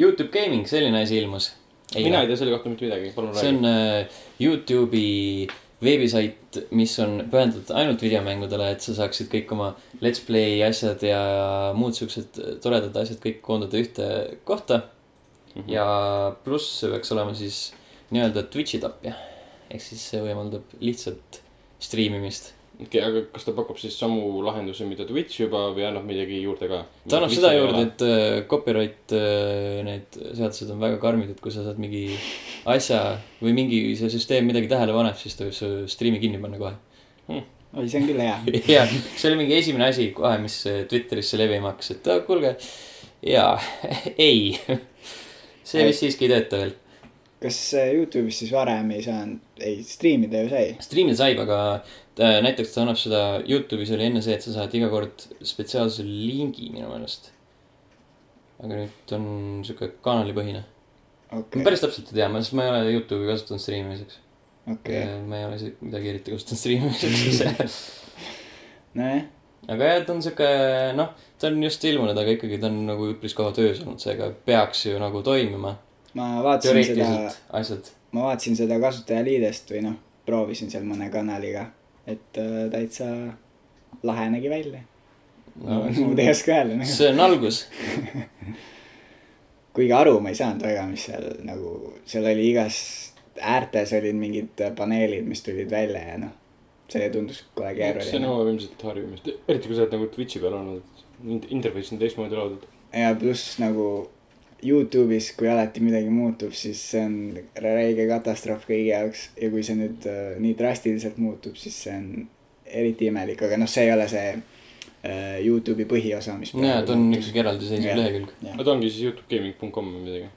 Speaker 1: Youtube Gaming , selline asi ilmus .
Speaker 2: mina ei tea selle kohta mitte midagi , palun
Speaker 1: see
Speaker 2: räägi .
Speaker 1: on äh, Youtube'i veebisait , mis on pühendatud ainult videomängudele , et sa saaksid kõik oma let's play asjad ja muud siuksed toredad asjad kõik koondada ühte kohta .
Speaker 2: Mhm.
Speaker 1: ja pluss see peaks olema siis nii-öelda Twitch'i tapja . ehk siis see võimaldab lihtsalt striimimist .
Speaker 2: okei , aga kas ta pakub siis samu lahendusi , mida Twitch juba või annab midagi juurde ka ?
Speaker 1: ta annab seda juurde ,, et äh, copyright äh, need seadused on väga karmid , et kui sa saad mingi asja või mingi see süsteem midagi tähele paneb , siis ta võib su striimi kinni panna kohe . [laughs]
Speaker 3: oi , see on küll hea .
Speaker 1: ja see oli mingi esimene asi kohe , mis äh, Twitterisse levima hakkas , et ah, kuulge ja [laughs] ei , see vist siiski ei tööta veel .
Speaker 3: kas äh, Youtube'is siis varem ei saanud , ei striimida ju sai ?
Speaker 1: striimida saib , aga ta, näiteks ta annab seda , Youtube'is oli enne see , et sa saad iga kord spetsiaalse lingi minu meelest . aga nüüd on sihuke kanalipõhine , ma
Speaker 3: okei ,
Speaker 1: päris täpselt ei tea , ma , sest ma ei ole Youtube'i kasutanud striimimiseks .
Speaker 3: okei ,
Speaker 1: ma ei ole isegi midagi eriti kasutanud
Speaker 3: [laughs]
Speaker 1: striimimiseks .
Speaker 3: nojah ,
Speaker 1: aga jah , ta on sihuke noh , ta on just ilmunud , aga ikkagi ta on nagu üpris kaua töös olnud , seega peaks ju nagu toimima .
Speaker 3: ma vaatasin seda ,
Speaker 1: teoreetiliselt asjad .
Speaker 3: ma vaatasin seda kasutajaliidest või noh , proovisin seal mõne kanaliga , et äh, täitsa lahe nägi välja .
Speaker 1: No,
Speaker 3: muud ei oska öelda , noh.
Speaker 1: see on
Speaker 3: [laughs]
Speaker 1: algus .
Speaker 3: kuigi aru ma ei saanud väga , mis seal nagu , seal oli igas äärtes olid mingid paneelid , mis tulid välja ja noh , see tundus kohe
Speaker 2: see
Speaker 3: keeruline .
Speaker 2: nõuab ilmselt harjumist , eriti kui sa oled nagu Twitch'i peal olnud . Interface on teistmoodi loodud .
Speaker 3: ja pluss nagu Youtube'is , kui alati midagi muutub , siis see on räige katastroof kõigi jaoks ja kui see nüüd äh, nii drastiliselt muutub , siis see on eriti imelik , aga noh , see ei ole see äh, Youtube'i põhiosa , mis .
Speaker 1: ja ta on üks eraldiseisev
Speaker 3: Jah.
Speaker 1: lehekülg ,
Speaker 2: aga ta ongi siis Youtubegaming.com või midagi .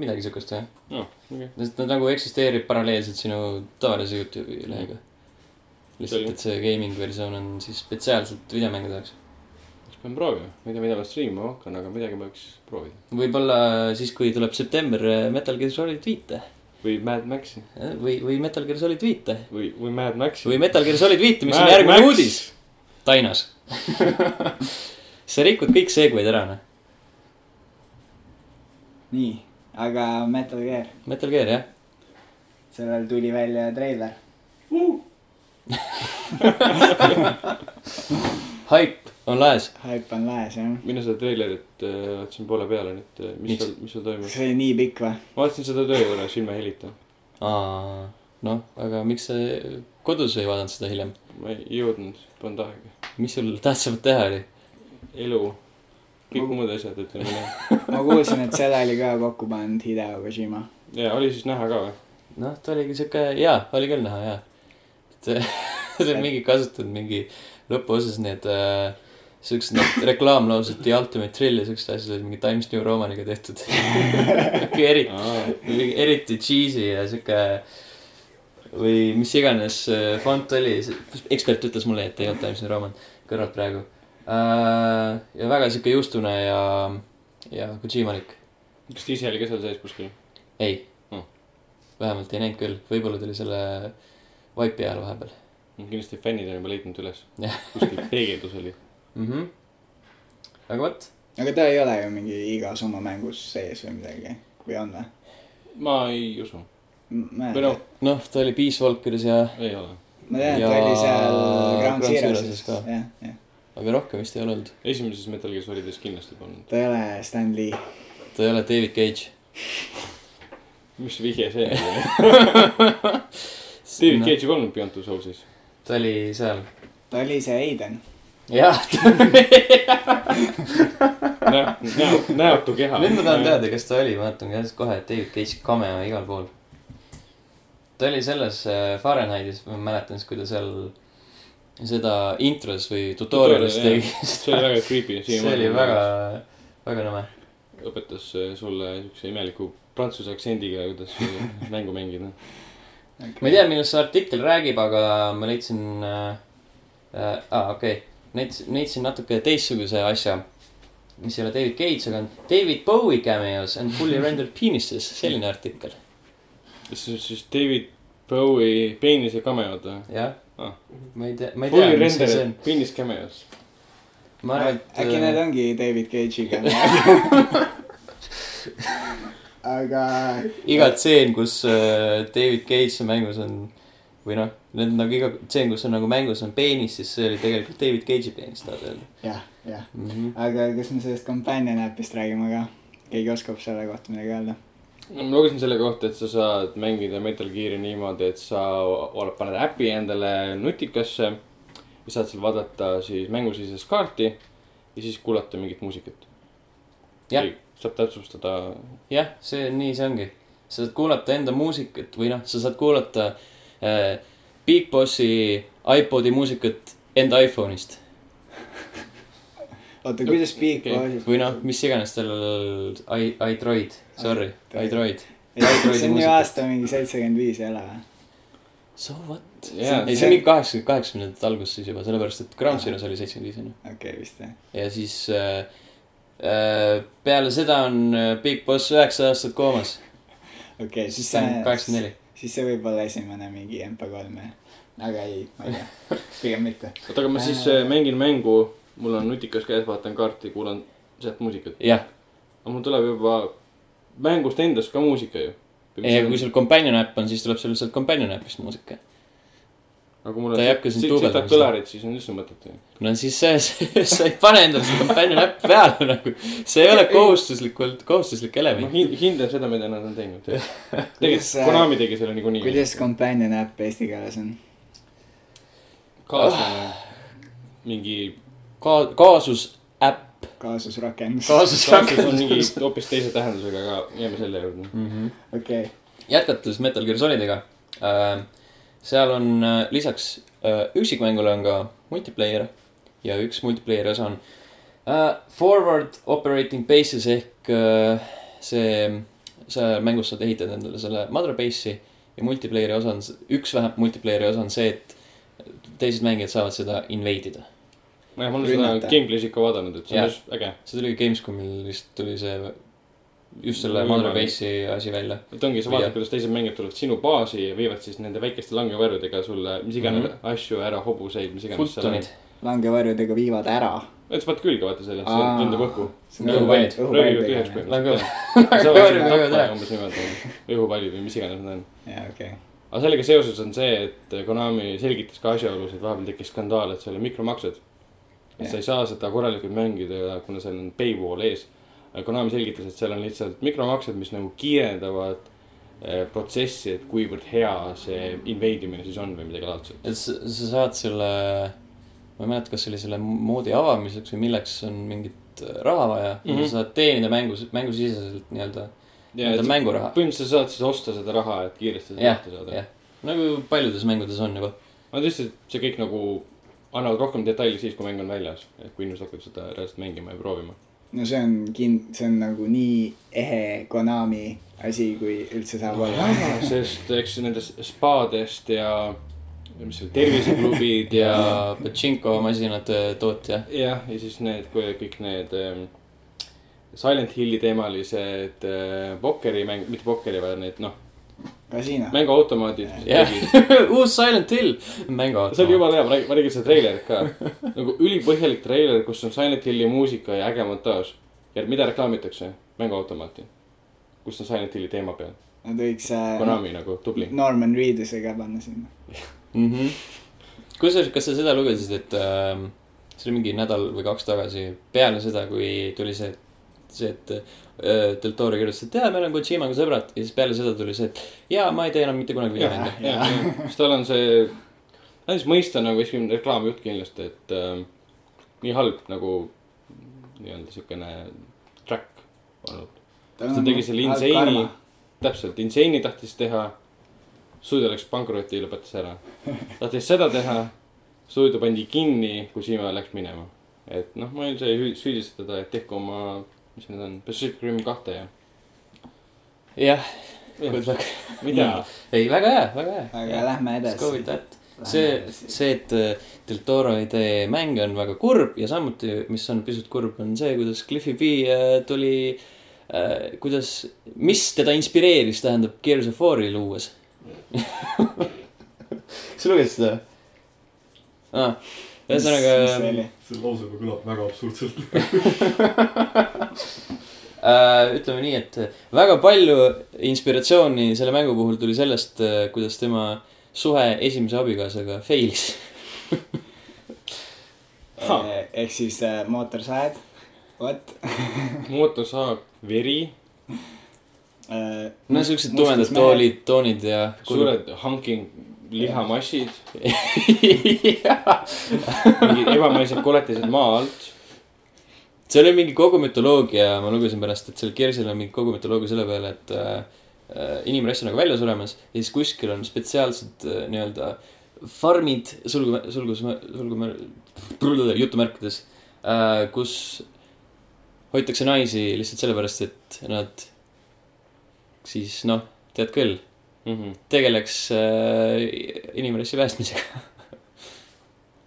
Speaker 1: midagi siukest jah .
Speaker 2: noh , okei .
Speaker 1: sest ta nagu eksisteerib paralleelselt sinu tavalise Youtube'i lehega . lihtsalt ,
Speaker 2: Selge.
Speaker 1: et see gaming versioon on siis spetsiaalselt videomängude jaoks .
Speaker 2: siis pean proovima , ma ei tea , mida ma striimima hakkan , aga midagi peaks proovida .
Speaker 1: võib-olla siis , kui tuleb september äh, Metal Gear Solid viite eh,
Speaker 2: või Mad Maxi
Speaker 1: või , või Metal Gear Solid viite
Speaker 2: või , või Mad Maxi .
Speaker 1: või Metal Gear Solid viite , mis on järgmine uudis . Tainas . [laughs] sa rikud kõik segway'd ära , noh .
Speaker 3: nii , aga Metal Gear ,
Speaker 1: Metal Gear , jah .
Speaker 3: sellel tuli välja treiler .
Speaker 1: Hype on laes .
Speaker 3: Hype on laes jah .
Speaker 2: mina seda treilerit äh, vaatasin poole peale , nii et äh, mis
Speaker 1: Miks?
Speaker 2: seal , mis seal toimus
Speaker 3: kas . see oli nii pikk või ?
Speaker 2: ma vaatasin seda töö juures ilma helita .
Speaker 1: noh , aga miks sa kodus ei vaadanud seda hiljem ?
Speaker 2: ma ei jõudnud , polnud aega .
Speaker 1: mis sul tähtsamat teha oli ?
Speaker 2: elu , kõik muud asjad , ütleme nii .
Speaker 3: ma kuulsin , et selle oli ka kokku pannud Hideo Kojima .
Speaker 2: ja oli siis näha ka või ?
Speaker 1: noh , ta oligi siuke , jaa , oli küll näha , jaa . [laughs] et ta on mingi kasutanud mingi lõpuosas need äh, siuksed need reklaamlaused The Ultimate Thrill ja siuksed asjad olid mingi Times New Romaniga tehtud . eriti Mingi eriti cheesy ja sihuke või mis iganes äh, fond oli , ekspert ütles mulle , et ei olnud Times New Roman kõrvalt praegu . ja väga sihuke juustune ja , ja Kojimalik ,
Speaker 2: kas ta ise oli ka seal sees kuskil ?
Speaker 1: ei Hm.
Speaker 2: Hmm. .
Speaker 1: vähemalt ei näinud küll , võib-olla tuli selle vaipi ajal vahepeal
Speaker 2: kindlasti fännid on juba leidnud
Speaker 1: [laughs]
Speaker 2: üles
Speaker 1: Jah. .
Speaker 2: kuskil peegeldus oli .
Speaker 1: mm . -hmm. aga vot ,
Speaker 3: aga ta ei ole ju mingi igas oma mängus sees või midagi või on või ?
Speaker 2: ma ei usu .
Speaker 3: või
Speaker 2: või noh ,,
Speaker 1: noh , ta oli Peace Walkeris ja
Speaker 2: ei ole .
Speaker 3: ma tean , et ta
Speaker 1: Ja
Speaker 3: oli seal Ground
Speaker 1: Ground
Speaker 3: Zeroes
Speaker 1: Zeroeses ka. ,
Speaker 3: jah , jah .
Speaker 1: aga rohkem vist ei olnud .
Speaker 2: esimeses Metal Gear Solides kindlasti polnud .
Speaker 3: ta ei ole Stan Lee .
Speaker 1: ta ei ole David Cage .
Speaker 2: mis vihje see
Speaker 1: [laughs]
Speaker 2: oli ? David Cage ei olnud Beyond Two Soulsis .
Speaker 1: ta oli seal .
Speaker 3: ta oli see Aiden .
Speaker 1: jah ,
Speaker 2: näo , näo , näotu keha .
Speaker 1: nüüd ma tahan teada , kes ta oli , vaatan käes kohe , David Cage cameo igal pool . ta oli selles äh, Fahrenheitis , ma mäletan siis , kui ta seal seda intros või tutorial'is
Speaker 2: Tutorial,
Speaker 1: tegi .
Speaker 2: see oli väga creepy .
Speaker 1: [laughs] see oli väga , väga nõme .
Speaker 2: õpetas äh, sulle siukse imeliku prantsuse aktsendiga , kuidas mängu noh. mängida .
Speaker 1: ma ei tea , millest see artikkel räägib , aga ma leidsin äh, , äh, ah, okei okay. , leidsin , leidsin natuke teistsuguse asja , mis ei ole David Cage , aga on David Bowie cameos and fully rendered penises , selline artikkel ,
Speaker 2: kas see on siis David Bowie peenise kameod või ?
Speaker 1: jah
Speaker 2: Ah.
Speaker 1: ma ei tea , ma ei
Speaker 2: Fully
Speaker 1: tea , mis see on
Speaker 2: rendered , peenis cameos .
Speaker 1: ma arvan , et
Speaker 3: äkki need
Speaker 1: äh,
Speaker 3: ongi David Cage'iga .
Speaker 1: [laughs]
Speaker 3: aga
Speaker 1: iga tseen , kus äh, David Cage on mängus , on või noh , need on nagu iga tseen , kus on nagu mängus on peenis , siis see oli tegelikult David Cage'i peenis , tahad öelda
Speaker 3: jah , jah .
Speaker 1: mm ? -hmm.
Speaker 3: aga kas me sellest Companion äpist räägime ka ? keegi oskab selle kohta midagi öelda ?
Speaker 2: no ma lugesin selle kohta , et sa saad mängida Metal Gear'i niimoodi , et sa oled , paned äpi endale nutikasse ja saad seal vaadata siis mängusisest kaarti ja siis kuulata mingit muusikat .
Speaker 1: Jah. .
Speaker 2: saab täpsustada .
Speaker 1: jah , see , nii see ongi . sa saad kuulata enda muusikat või noh , sa saad kuulata äh, Big Bossi iPodi muusikat enda iPhone'ist
Speaker 3: oota , kuidas Big
Speaker 2: Okei.
Speaker 3: Boss
Speaker 1: või noh , mis iganes tal i , iDroid , sorry , iDroid .
Speaker 3: see on ju
Speaker 1: muusikat.
Speaker 3: aasta mingi seitsekümmend viis ei ole või ?
Speaker 1: So what ?
Speaker 2: jaa ,
Speaker 1: ei , see on mingi kaheksakümmend , kaheksakümnendate algus siis juba , sellepärast et Ground Zeroes oli seitsekümmend viis , on ju .
Speaker 3: okei okay, , vist jah .
Speaker 1: ja siis äh, äh, peale seda on äh, Big Boss üheksa aastat koomas ,
Speaker 3: okei okay, , siis
Speaker 1: siis ta on kaheksakümmend . neli .
Speaker 3: siis see võib olla esimene mingi MP3-e . aga ei , ma
Speaker 1: [laughs]
Speaker 3: ei tea , pigem mitte .
Speaker 2: oota , aga ma siis äh, mängin mängu , mul on nutikas käes , vaatan kaarti , kuulan sealt muusikat .
Speaker 1: jah ,
Speaker 2: aga mul tuleb juba mängust endast ka muusika ju .
Speaker 1: ja kui sul companion äpp on , siis tuleb sul lihtsalt companion äpist muusika .
Speaker 2: aga kui mul
Speaker 1: ta ei hakka sind duubeldama
Speaker 2: sitad
Speaker 1: seda.
Speaker 2: kõlarid , siis on üldse mõttetu ju .
Speaker 1: no siis see, see , sa ei pane endale seda companion äppi peale nagu , see ei ole kohustuslikult , kohustuslik
Speaker 2: ma
Speaker 1: element .
Speaker 2: hin- , hindan seda , mida nad on
Speaker 1: [laughs]
Speaker 2: teinud . tegelikult
Speaker 3: Kuidas, äh,
Speaker 2: Konami tegi selle niikuinii .
Speaker 3: kuidas companion äpp eesti keeles on ? Ah!
Speaker 2: kaaslane , mingi ,
Speaker 3: [laughs]
Speaker 1: Ka- , kaasus äpp ,
Speaker 3: kaasusrakendus .
Speaker 1: kaasus
Speaker 2: kaaslus on mingi
Speaker 1: rakendus .
Speaker 2: hoopis teise tähendusega , aga jääme selle juurde .
Speaker 1: Mhm.
Speaker 3: okei ,
Speaker 1: jätkates Metal Gear Solidega äh, , seal on äh, lisaks äh, üksikmängule on ka multiplayer ja üks multiplayer osa on äh, forward operating bases ehk äh, see , sa mängus saad ehitada endale selle mother base'i ja multiplayer'i osa on , üks vähemalt multiplayer'i osa on see , et teised mängijad saavad seda invade ida .
Speaker 2: nojah , ma olen seda
Speaker 3: Rünnata.
Speaker 2: gameplay's ikka vaadanud , et see on
Speaker 1: Jah.
Speaker 2: just äge .
Speaker 1: see tuli Gamescomil vist tuli see , just selle
Speaker 2: Võimalik.
Speaker 1: mother base'i asi välja .
Speaker 2: et ongi , sa
Speaker 1: Jah.
Speaker 2: vaatad , kuidas teised mängijad tulevad sinu baasi ja viivad siis nende väikeste langevärvidega sulle mis iganes mm
Speaker 1: Mhm.
Speaker 2: -hmm. asju ära , hobuseid , mis iganes seal on
Speaker 1: Fultonid .
Speaker 3: langevarjudega viivad ära .
Speaker 2: et sa paned külge vaata selle , see
Speaker 3: Aa.
Speaker 2: lendab õhku .
Speaker 1: Õhupallid.
Speaker 2: röögivad tühjaks
Speaker 3: õhupallid .
Speaker 1: Läheb
Speaker 2: põhimõtteliselt . sa võid
Speaker 1: Väga
Speaker 2: tappa
Speaker 1: hea.
Speaker 2: ja umbes niimoodi , õhupallid või mis iganes nad on .
Speaker 3: jaa , okei .
Speaker 2: aga sellega seoses on see , et Konami selgitas ka asjaolusid , vahepeal tekkis skandaal , et seal on mikromaksed . et sa ei saa seda korralikult mängida , kuna seal on paywall ees . Konami selgitas , et seal on lihtsalt mikromaksed , mis nagu kiirendavad eh, protsessi , et kuivõrd hea see invade imine siis on või midagi laadset .
Speaker 1: et sa , sa saad selle , ma ei mäleta , kas see oli selle moodi avamiseks või milleks on mingit raha vaja mm ,
Speaker 2: Mhm.
Speaker 1: -hmm. sa saad teenida mängus , mängusiseselt nii-öelda , nii-öelda
Speaker 2: põhimõtteliselt
Speaker 1: mänguraha .
Speaker 2: sa saad siis osta seda raha , et kiiresti seda
Speaker 1: jah
Speaker 2: kätte , saada .
Speaker 1: jah , nagu paljudes mängudes on juba .
Speaker 2: ma lihtsalt , see kõik nagu annavad rohkem detaili siis , kui mäng on väljas , et kui inimesed hakkavad seda reaalselt mängima ja proovima .
Speaker 3: no see on kind- , see on nagu nii ehe Konami asi , kui üldse saab olla .
Speaker 2: [laughs] sest eks nendest spaadest ja mis seal terviseklubid ja ,
Speaker 1: ja Pachinko masinate
Speaker 2: [laughs]
Speaker 1: tootja ,
Speaker 2: jah , ja siis need kõik need ähm, Silent Hilli teemalised äh, pokkerimäng , mitte pokkeri , vaid need noh ,
Speaker 3: kasiino .
Speaker 2: mänguautomaadid .
Speaker 1: Jah.
Speaker 2: [laughs] see
Speaker 1: uus Silent Hill mängu .
Speaker 2: oli jumala hea , ma räägin , ma räägin seda treilerit ka . nagu ülipõhjalik treiler , kus on Silent Hilli muusika ja äge montaaž . ja mida reklaamitakse ? mänguautomaati . kus on Silent Hilli teema peal .
Speaker 3: Nad võiks äh,
Speaker 2: Konami nagu , tubli .
Speaker 3: Norman Reeduse ka panna sinna .
Speaker 1: kusjuures , kas sa seda lugesid , et äh, see oli mingi nädal või kaks tagasi peale seda , kui tuli see , see , et äh, Del Toro kirjutas , et jaa , me oleme Kojimaga sõbrad ja siis peale seda tuli see , et jaa , ma ei tee enam mitte kunagi videomänge .
Speaker 2: jah , sest tal on see , ta siis mõista nagu esimene reklaamjutt kindlasti , et ähm, nii halb nagu nii-öelda siukene track olnud . ta tegi selle Insane'i , täpselt , Insane'i tahtis teha , stuudio läks pankrotti ja lõpetas ära . tahtis seda teha , stuudio pandi kinni , Kusima läks minema . et noh , ma ei saa ju süüdistada teda , et tehku oma , mis need on , Pacific Rim kahte ja .
Speaker 1: jah , good luck .
Speaker 2: mida ?
Speaker 1: ei , väga hea , väga hea .
Speaker 3: aga lähme
Speaker 1: Let's go with
Speaker 3: edasi .
Speaker 1: that . see , see , et äh, Del Toro ei tee mänge , on väga kurb ja samuti , mis on pisut kurb , on see , kuidas Cliffi B äh, tuli , kuidas , mis teda inspireeris , tähendab , Gears of War'i luues . [laughs] sa lugesid seda ah, ? ühesõnaga ,
Speaker 4: see lause juba kõlab väga absurdselt .
Speaker 1: äh, ütleme nii , et väga palju inspiratsiooni selle mängu puhul tuli sellest , kuidas tema suhe esimese abikaasaga fail'is .
Speaker 2: Ha.
Speaker 3: ehk siis äh, mootorsaed , vot .
Speaker 2: mootorsaag , veri ,
Speaker 3: Äh,
Speaker 1: no siuksed tumedad . toolid , toonid ja .
Speaker 2: suured hanking
Speaker 1: [laughs]
Speaker 2: lihamassid ,
Speaker 1: jah ,
Speaker 2: mingid ebamaised koletised maa alt .
Speaker 1: seal oli mingi kogu mütoloogia , ma lugesin pärast , et seal Kirsil on mingi kogu mütoloogia selle peale , et äh, äh, inimrass on nagu välja suremas ja siis kuskil on spetsiaalsed äh, nii-öelda farmid , sulgu , sulgus , sulgu , jutumärkides äh, , kus hoitakse naisi lihtsalt sellepärast , et nad siis noh , tead küll , Mhm. tegeleks äh, inimrassi päästmisega . [laughs]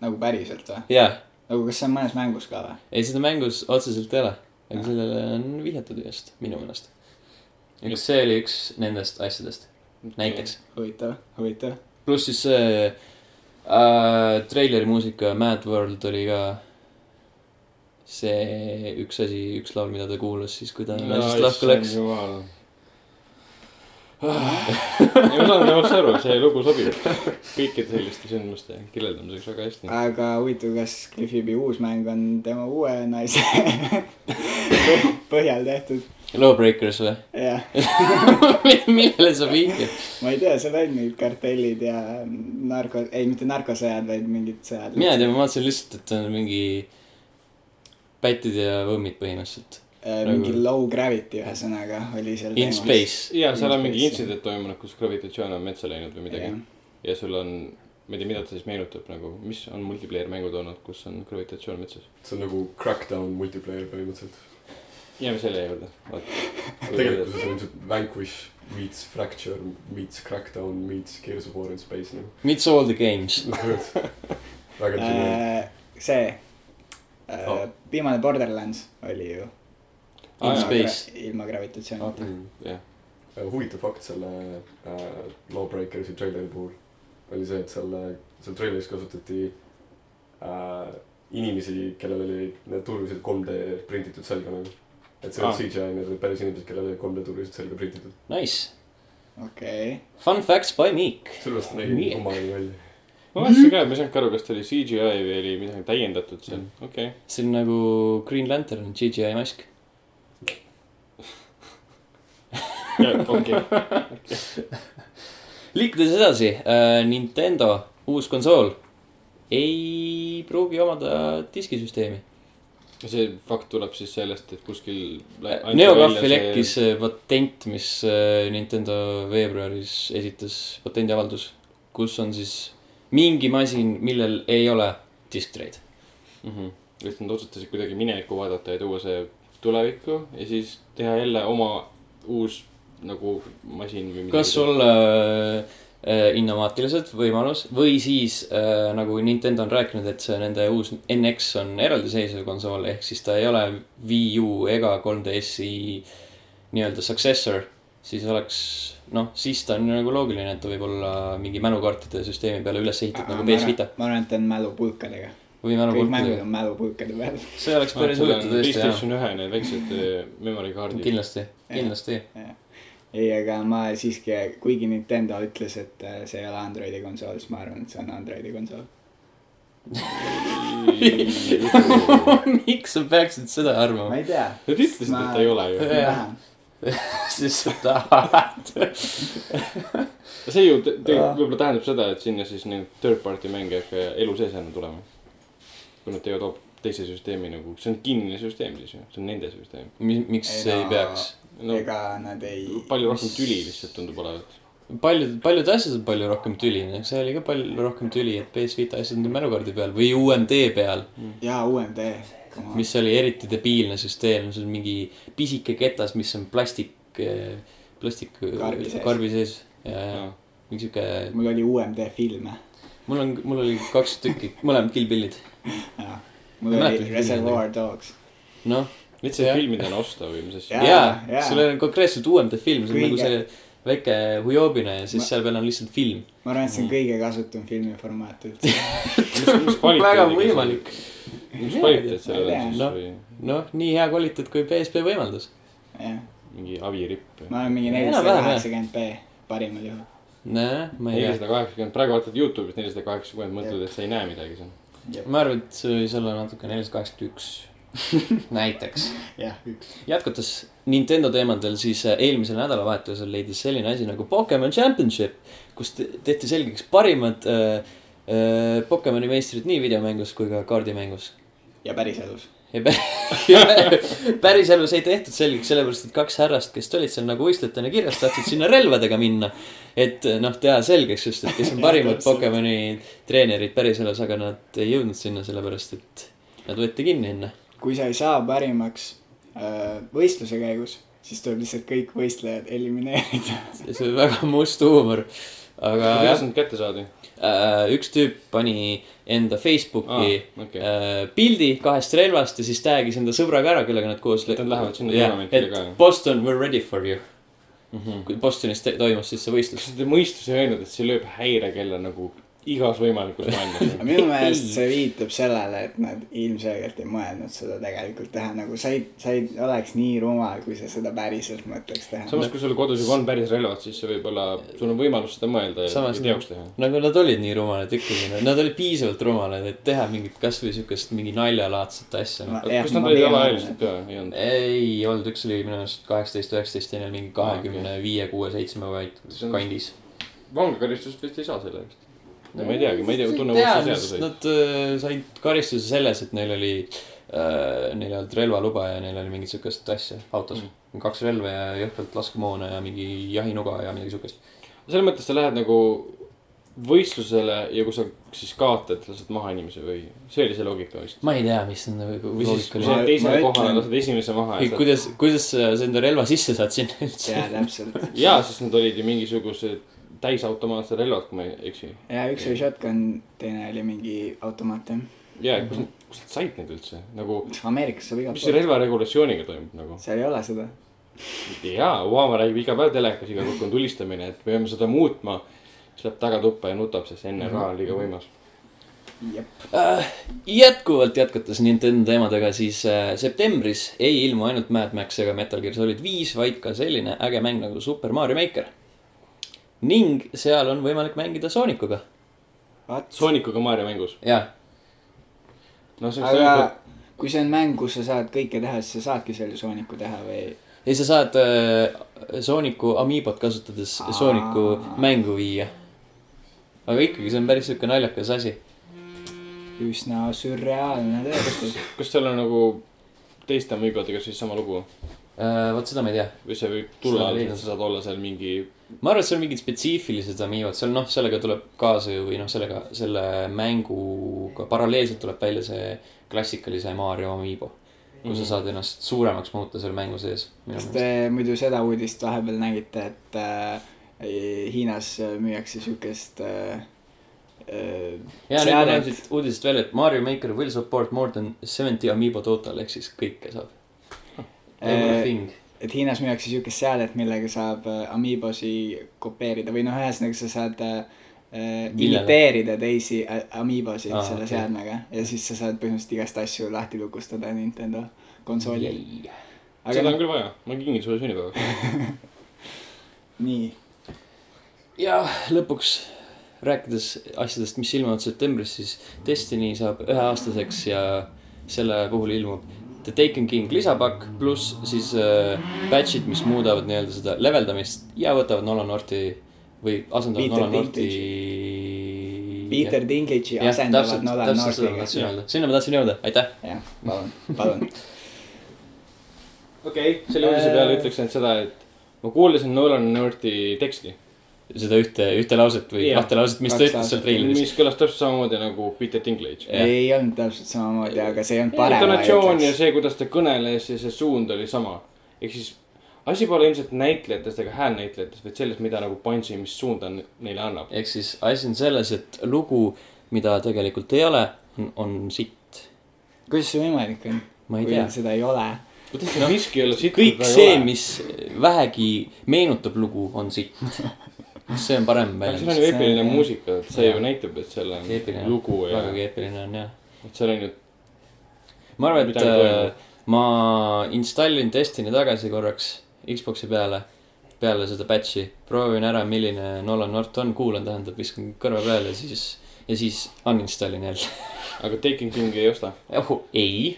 Speaker 3: nagu päriselt või ?
Speaker 1: jaa ,
Speaker 3: nagu kas see on mõnes mängus ka või ?
Speaker 1: ei , seda mängus otseselt ei ole , aga sellele on vihjatud just , minu meelest . üks , see oli üks nendest asjadest , näiteks .
Speaker 3: huvitav , huvitav .
Speaker 1: pluss siis see äh, treileri muusika Mad World oli ka see üks asi , üks laul , mida ta kuulas siis , kui ta naisest lahku läks .
Speaker 2: jumal .
Speaker 1: [laughs]
Speaker 2: ei , ma saan temast aru , see lugu sobib kõikide selliste sündmuste kirjeldamiseks väga hästi .
Speaker 3: aga huvitav , kas Cliffi B uus mäng on tema uue
Speaker 1: [laughs]
Speaker 3: naise põhjal tehtud ?
Speaker 1: Lawbreakers või ? [laughs]
Speaker 3: jah ,
Speaker 1: millele sa vihjad ?
Speaker 3: ma ei tea , seal olid mingid kartellid ja narko , ei mitte narkosõjad , vaid mingid sõjad .
Speaker 1: mina ei tea , ma vaatasin lihtsalt , et on mingi pätid ja võmmid põhimõtteliselt .
Speaker 3: Äh, mingi low gravity , ühesõnaga oli seal .
Speaker 1: In space .
Speaker 2: ja seal on mingi intsident toimunud , kus gravitatsioon on metsa läinud või midagi . ja sul on , ma ei tea , mida ta siis meenutab nagu , mis on multiplayer mängud olnud , kus on gravitatsioon metsas .
Speaker 4: see on nagu Crackdown multiplayer põhimõtteliselt .
Speaker 2: jääme selle juurde .
Speaker 1: [laughs]
Speaker 4: tegelikkuses on ilmselt Vanquish meets Fracture meets Crackdown meets Gears of War in Space nagu .
Speaker 1: Meets all the games .
Speaker 4: väga tüüpiline .
Speaker 3: Äh, see äh,
Speaker 4: Oh.
Speaker 3: oh. , viimane Borderlands oli ju .
Speaker 1: In
Speaker 2: Aa, jaa.
Speaker 1: space.
Speaker 3: ilma gravitatsioonita
Speaker 4: Mm.
Speaker 3: okay. .
Speaker 2: jah ,
Speaker 4: huvitav fakt selle äh, Lawbreakersi treileri puhul oli see , et selle , seal treileris kasutati äh, inimesi , kellel olid need turvalised 3D prinditud selga nagu . et see ei olnud
Speaker 2: Aa.
Speaker 4: CGI , need olid päris inimesed , kellel olid 3D turvalised selga prinditud .
Speaker 1: Nice .
Speaker 3: okei
Speaker 1: Fun facts by Meek .
Speaker 4: sellepärast ta nägi
Speaker 1: Nii.
Speaker 4: nii nagu kummaline välja .
Speaker 2: ma
Speaker 1: Mhm.
Speaker 2: vaatasin ka , ma ei saanudki aru , kas ta oli CGI või oli midagi täiendatud seal , okei okay. .
Speaker 1: see on nagu Green Lantern GGI mask .
Speaker 2: okei okay. ,
Speaker 1: liikudes edasi äh, , Nintendo uus konsool ei pruugi omada diskisüsteemi .
Speaker 2: see fakt tuleb siis sellest , et kuskil .
Speaker 1: Neografi Äh, lekkis see... patent , mis äh, Nintendo veebruaris esitas , patendiavaldus , kus on siis mingi masin , millel ei ole disktreit .
Speaker 2: mm . -hmm. et nad otsustasid kuidagi minevikku vaadata ja tuua see tulevikku ja siis teha jälle oma uus nagu masin või midagi .
Speaker 1: kas olla äh, innovaatilised võimalus või siis äh, nagu Nintendo on rääkinud , et see nende uus NX on eraldiseisev konsool , ehk siis ta ei ole Wii U ega 3DS-i nii-öelda successor , siis oleks noh , siis ta on nagu loogiline , et ta võib olla mingi mälukaartide süsteemi peale üles ehitatud nagu PS Vita
Speaker 3: ma arvan , et on mälupulkadega .
Speaker 1: või
Speaker 3: kõik mängud
Speaker 1: mälupulkadega .
Speaker 3: on mälupulkade peal . [laughs]
Speaker 1: see oleks
Speaker 2: Ah,
Speaker 1: päris huvitav tõesti jah ,
Speaker 2: äh, PlayStation ühe need väiksed eh, memory kaardid .
Speaker 1: kindlasti , [laughs] kindlasti .
Speaker 3: ei , aga ma siiski , kuigi Nintendo ütles , et äh, see ei ole Androidi konsool , siis ma arvan , et see on Androidi konsool .
Speaker 1: miks sa peaksid seda
Speaker 3: ma
Speaker 1: arvama ?
Speaker 3: ei tea .
Speaker 2: Nad ütlesid , et ei ole ju .
Speaker 1: siis sa
Speaker 3: [laughs]
Speaker 1: tahad .
Speaker 2: see ju te-
Speaker 1: Jaa.
Speaker 2: tegelikult võib-olla tähendab seda , et sinna siis nagu third party mänge hakkab elu sees enam tulema . kui nad teevad hoop- teise süsteemi nagu , see on kinnine süsteem siis ju , see on nende süsteem .
Speaker 1: miks ei,
Speaker 3: Ei,
Speaker 1: ei
Speaker 3: no-
Speaker 1: peaks ?
Speaker 2: no
Speaker 3: ega nad ei .
Speaker 2: palju rohkem tüli lihtsalt tundub olevat .
Speaker 1: paljud , paljud asjad on palju rohkem tüli , see oli ka palju rohkem tüli , et PS Vita asjad on mälukaardi peal või UMD peal ,
Speaker 3: jaa , UMD .
Speaker 1: mis oli eriti debiilne süsteem , see on mingi pisike ketas , mis on plastik , plastik eh,
Speaker 3: Karbi sees.
Speaker 1: karbi sees ja , ja
Speaker 2: Jaa.
Speaker 1: mingi siuke ,
Speaker 3: mul oli UMD filme .
Speaker 1: mul on , mul oli kaks tükki , mõlemad killpillid ,
Speaker 3: mul
Speaker 1: Ma
Speaker 3: oli
Speaker 1: mäletan,
Speaker 3: Reservoir Dogs .
Speaker 1: noh .
Speaker 2: Need said filmidena osta või mis asja .
Speaker 3: Jaa,
Speaker 1: jaa ,
Speaker 3: jaa.
Speaker 1: sul on konkreetselt UMD film , see on nagu
Speaker 3: Kõige-
Speaker 1: see väike hujobine ja siis
Speaker 3: Ma-
Speaker 1: seal peal on lihtsalt film .
Speaker 3: ma arvan , et see on kõige kasutum filmiformaat üldse .
Speaker 1: väga võimalik ,
Speaker 2: mis kvaliteet seal
Speaker 3: Ma ei
Speaker 2: on siis
Speaker 1: tea.
Speaker 2: või
Speaker 1: noh , nii hea kvaliteet kui PSP võimaldas .
Speaker 3: jah ,
Speaker 2: mingi aviripp või ?
Speaker 3: ma olen mingi nelisada
Speaker 1: Enam-vähem, jah.
Speaker 3: kaheksakümmend B parimal juhul .
Speaker 1: nojah , ma ei tea .
Speaker 2: nelisada kaheksakümmend , praegu vaatad Youtube'is nelisada kaheksakümmend , mõtled , et sa ei näe midagi seal .
Speaker 1: ma arvan , et see võis olla natuke nelisada kaheksakümmend üks [laughs] näiteks .
Speaker 3: jah , üks .
Speaker 1: jätkates Nintendo teemadel , siis äh, eelmisel nädalavahetusel leidis selline asi nagu Pokemon Championship , kus te- tehti selgeks parimad äh, äh, Pokemoni meistrid nii videomängus kui ka kaardimängus . [laughs]
Speaker 3: ja päriselus .
Speaker 1: ja pä- päriselus ei tehtud selgeks , sellepärast et kaks härrast , kes olid seal nagu võistlejatena kirjas , tahtsid sinna relvadega minna . et noh , teha selgeks just , et kes on parimad Pokemoni treenerid päriselus , aga nad ei jõudnud sinna , sellepärast et nad võeti kinni enne .
Speaker 3: kui sa ei saa parimaks öö, võistluse käigus , siis tuleb lihtsalt kõik võistlejad elimineerida . [laughs]
Speaker 1: see oli väga [laughs] must huumor . aga
Speaker 2: kuidas
Speaker 1: jah ,
Speaker 2: nad kätte saadi ?
Speaker 1: üks tüüp pani enda Facebooki
Speaker 2: Aa, Ah, okei.
Speaker 1: äh, pildi kahest relvast ja siis tag'is enda sõbraga ära , kellega nad koos .
Speaker 2: Et nad lähevad sinna tournamentile
Speaker 1: et
Speaker 2: ka, jah? Mhm.
Speaker 1: Boston , we are ready for you .
Speaker 2: kas
Speaker 1: kui Bostonis te- toimus siis see võistlus .
Speaker 2: te mõistus ei öelnud , et see lööb häirekella nagu igas võimalikus maailmas ? [laughs]
Speaker 3: minu
Speaker 1: Ei.
Speaker 3: meelest see viitab sellele , et nad ilmselgelt ei mõelnud seda tegelikult teha , nagu sa ei , sa ei oleks nii rumal , kui sa seda päriselt mõtleks teha .
Speaker 2: samas , kui sul kodus juba on päris relvad , siis see võib olla , sul on võimalus seda mõelda ja
Speaker 1: Samas
Speaker 2: ja teoks teha .
Speaker 1: nagu nad olid nii rumalad ikkagi , nad olid piisavalt rumalad , et teha mingit kasvõi siukest mingi naljalaadset asja no. .
Speaker 3: Jah,
Speaker 2: kas
Speaker 3: ma
Speaker 2: nad olid
Speaker 3: pigem
Speaker 2: alaealised ka ? ei olnud .
Speaker 1: ei olnud , üks oli minu arust kaheksateist , üheksateist , teine oli mingi kahekümne viie , kuue , seitsme vaid
Speaker 2: See on-
Speaker 1: kandis .
Speaker 2: vangakaristust vist ei saa selle eest . no ma ei teagi , ma ei tea , tunnen uusi seaduseid .
Speaker 1: Nad äh, said karistuse selles , et neil oli äh, , neil ei olnud relvaluba ja neil oli mingit siukest asja autos mm. . kaks relva ja jõhkralt laskemoona ja mingi jahinuga ja midagi siukest .
Speaker 2: selles mõttes sa lähed nagu võistlusele ja kui sa siis kaotad , lased maha inimese või , see oli see loogika vist .
Speaker 1: ma ei tea , mis on nagu
Speaker 2: või siis , kui
Speaker 1: loogika oli .
Speaker 2: sa oled teisele
Speaker 3: Ma- ma
Speaker 2: kohale ,
Speaker 3: ütlen-
Speaker 2: lased esimese maha ja saad
Speaker 1: kuidas , kuidas sa sa enda relva sisse saad sinna üldse ?
Speaker 3: jaa , täpselt .
Speaker 2: [laughs] jaa , sest nad olid ju mingisugused täisautomaatsed relvad , kui ma ei eksi .
Speaker 3: jaa , üks oli shotgun , teine oli mingi automaat , jah .
Speaker 2: jaa , kus nad , kus nad said neid üldse nagu ,
Speaker 3: Ameerikas saab igalt
Speaker 2: mis see
Speaker 3: poolt .
Speaker 2: relvaregulatsiooniga toimub nagu ?
Speaker 3: seal ei ole seda .
Speaker 2: jaa , Obama räägib iga päev telekas , iga kord on tulistamine , et me peame seda muutma . siis läheb tagatuppa ja nutab , sest NRA on liiga võimas .
Speaker 3: jep .
Speaker 1: Äh, jätkuvalt jätkates Nintendo teemadega , siis äh, septembris ei ilmu ainult Mad Max ega Metal Gear Solid viis , vaid ka selline äge mäng nagu Super Mario Maker . ning seal on võimalik mängida Soonikuga .
Speaker 3: What ?
Speaker 2: Soonikuga Mario mängus .
Speaker 1: jaa ,
Speaker 2: no see on
Speaker 3: aga
Speaker 2: aga... ,
Speaker 3: kui see on mäng , kus sa saad kõike teha , siis sa saadki selle sooniku teha või ?
Speaker 1: ei sa saad äh, Sooniku amiibot kasutades
Speaker 3: Aa.
Speaker 1: Sooniku mängu viia . aga ikkagi , see on päris siuke naljakas asi .
Speaker 3: üsna sürreaalne tõestus .
Speaker 2: kas seal on nagu teiste amiibadega siis sama lugu
Speaker 1: Äh, vot seda ma ei tea .
Speaker 2: või see võib tulla
Speaker 1: Seda ei ,
Speaker 2: et sa saad olla seal mingi ,
Speaker 1: ma arvan , et seal on mingid spetsiifilised amiibad , seal noh , sellega tuleb kaasa ju või noh , sellega , selle mänguga paralleelselt tuleb välja see klassikalise Mario amiibo . kus sa saad ennast suuremaks muuta seal mängu sees .
Speaker 3: Mhm. kas te eh, muidu seda uudist vahepeal nägite , et äh, Hiinas müüakse siukest äh, äh,
Speaker 1: ja nüüd ma näen
Speaker 3: seadet?
Speaker 1: siit uudisest välja , et Mario Maker will support more than seventy amiibo total ehk siis kõike saab .
Speaker 3: Äh,
Speaker 1: Everything .
Speaker 3: et Hiinas müüakse siukest seadet , millega saab äh, amiibosi kopeerida või noh , ühesõnaga sa saad äh, äh,
Speaker 1: Millele?
Speaker 3: imiteerida teisi äh, amiibosid
Speaker 1: Aa,
Speaker 3: selle
Speaker 1: okei.
Speaker 3: seadmega ja siis sa saad põhimõtteliselt igast asju lahti lukustada Nintendo konsoolil .
Speaker 2: seda
Speaker 3: aga noh,
Speaker 2: on küll vaja , ma kingin sulle sünnipäeva .
Speaker 3: nii ,
Speaker 1: ja lõpuks rääkides asjadest , mis ilmuvad septembris , siis Destiny saab üheaastaseks ja selle puhul ilmub The Taken King lisapakk pluss siis äh, batch'id , mis muudavad nii-öelda seda leveldamist ja võtavad Nolan Norti või asendavad
Speaker 3: Peter
Speaker 1: Nolan Norti .
Speaker 3: Peter Dinklage'i
Speaker 1: jah ,
Speaker 3: asendavad
Speaker 1: täpselt ,
Speaker 3: Nolan
Speaker 1: täpselt seda ma
Speaker 3: Northiga .
Speaker 1: tahtsin öelda , sinna ma tahtsin jõuda , aitäh .
Speaker 3: jah , palun , palun .
Speaker 2: okei okay. , selle uudise peale ütleks ainult seda , et ma kuulasin Nolan Norti teksti ,
Speaker 1: seda ühte , ühte lauset või
Speaker 2: Jah.
Speaker 1: kahte lauset , mis ta
Speaker 3: Kaks
Speaker 1: ütles seal
Speaker 3: lauset.
Speaker 1: treileris .
Speaker 2: mis kõlas täpselt samamoodi nagu Peter Dinklage .
Speaker 1: Jah.
Speaker 3: ei olnud täpselt samamoodi , aga see ei olnud parem .
Speaker 2: intonatsioon ja see , kuidas ta kõneles ja see suund oli sama . ehk siis asi pole ilmselt näitlejates ega häälnäitlejates , vaid selles , mida nagu Punchi , mis suunda n- neile annab .
Speaker 1: ehk siis asi on selles , et lugu , mida tegelikult ei ole , on sitt .
Speaker 3: kuidas see võimalik on ?
Speaker 1: Ma ei
Speaker 3: kui
Speaker 1: tea.
Speaker 3: seda ei ole .
Speaker 2: kuidas see miski ei ole siit ?
Speaker 1: kõik see , mis vähegi meenutab lugu , on
Speaker 2: [laughs]
Speaker 1: sitt . see on parem
Speaker 2: aga
Speaker 1: väljend .
Speaker 2: seal on ju
Speaker 3: see-
Speaker 2: eepiline muusika , et see
Speaker 1: Jah.
Speaker 2: ju näitab , et seal on nagu
Speaker 1: Eepiline.
Speaker 2: lugu ja
Speaker 1: vägagi eepiline on jah .
Speaker 2: et seal on ju ,
Speaker 1: ma arvan , et
Speaker 2: Midagi toimub.
Speaker 1: äh, ma installin Destiny tagasi korraks Xbox'i peale , peale seda patch'i , proovin ära , milline Nolan North on , kuulan , tähendab , viskan kõrva peale , siis ja siis uninstallin jälle .
Speaker 2: aga Taking Kingi ei
Speaker 1: [laughs]
Speaker 2: osta .
Speaker 1: oh, ei ,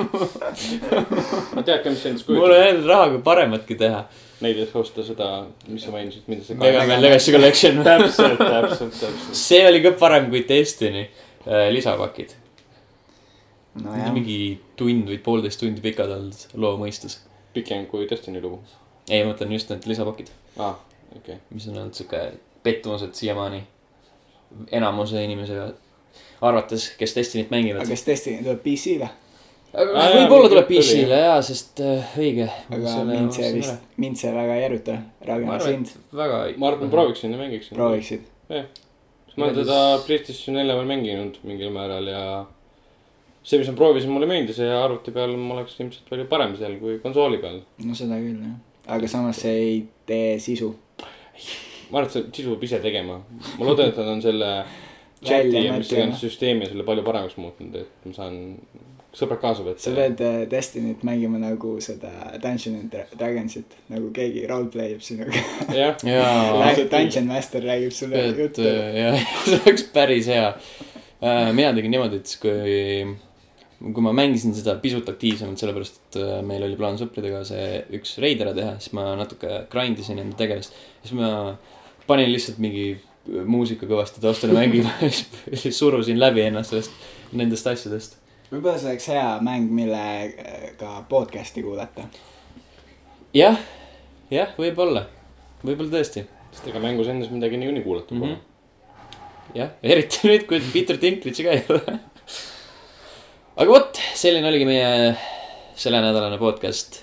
Speaker 1: [laughs]
Speaker 2: ma tean ka , mis see endast
Speaker 1: mul on
Speaker 2: kujutab .
Speaker 1: jälle rahaga parematki teha .
Speaker 2: Neid ei osta seda , mis sa mainisid , mida see
Speaker 1: Mega . Man Legacy Collection ,
Speaker 2: [laughs] täpselt , täpselt , täpselt .
Speaker 1: see oli ka parem kui Destiny äh, lisapakid .
Speaker 3: nojah ,
Speaker 1: mingi tund või poolteist tundi pikad olnud loo mõistes .
Speaker 2: pikem kui Destiny lugu . Ah.
Speaker 1: ei , ma mõtlen just need lisapakid .
Speaker 2: aa , okei .
Speaker 1: mis on olnud sihuke pettumus , et siiamaani enamuse inimese arvates , kes Destiny't
Speaker 3: aga
Speaker 1: mängivad .
Speaker 3: kas tõesti tuleb PC-le ?
Speaker 1: aga
Speaker 2: Aa, jaa,
Speaker 1: võib-olla
Speaker 2: mingi
Speaker 1: tuleb
Speaker 2: jutt oli,
Speaker 1: PC-le jaa , sest äh, õige .
Speaker 3: aga mind see vist , mind see väga ei eruta .
Speaker 1: ma
Speaker 3: Ragnar ,
Speaker 1: arvan ,
Speaker 3: sind
Speaker 1: et väga .
Speaker 2: ma arvan , et . prooviksin ja mängiksin .
Speaker 3: prooviksid ?
Speaker 2: ma olen
Speaker 1: Igatahes-
Speaker 2: teda PlayStation nelja peal mänginud mingil määral ja see , mis ma proovisin , mulle meeldis ja arvuti peal ma oleks ilmselt palju parem seal kui konsooli peal .
Speaker 3: no seda küll , jah . aga samas see ei tee sisu .
Speaker 2: ma arvan , et see sisu peab ise tegema . ma loodan , et nad on selle
Speaker 3: Välja
Speaker 2: chati ja mis
Speaker 3: mõtlema.
Speaker 2: iganes süsteemi selle palju paremaks muutnud , et ma saan sõbrad kaasa
Speaker 3: sa
Speaker 2: võtta .
Speaker 3: pead äh, Destiny't mängima nagu seda Dungeon and Dra- Dragonsit , nagu keegi roleplay ib sinuga .
Speaker 2: jah ,
Speaker 3: [laughs]
Speaker 1: jaa ,
Speaker 3: Läheb Dungeon Master räägib sulle
Speaker 1: et
Speaker 3: juttu .
Speaker 1: äh, jah , [laughs] see oleks päris hea . mina tegin niimoodi , et siis kui kui ma mängisin seda pisut aktiivsemalt , sellepärast et äh, meil oli plaan sõpradega see üks reid ära teha , siis ma natuke grind isin enda tegelast . siis ma panin lihtsalt mingi muusika kõvasti taustale mängima [laughs] ja siis surusin läbi ennast sellest , nendest asjadest .
Speaker 3: võib-olla see oleks hea mäng , millega podcast'i kuulata .
Speaker 1: jah , jah , võib-olla , võib-olla tõesti ,
Speaker 2: sest ega mängus endas midagi niikuinii kuulata pole mm .
Speaker 1: Mhm. jah , eriti nüüd , kui Peter Dinklage'i ka ei ole . aga vot , selline oligi meie sellenädalane podcast .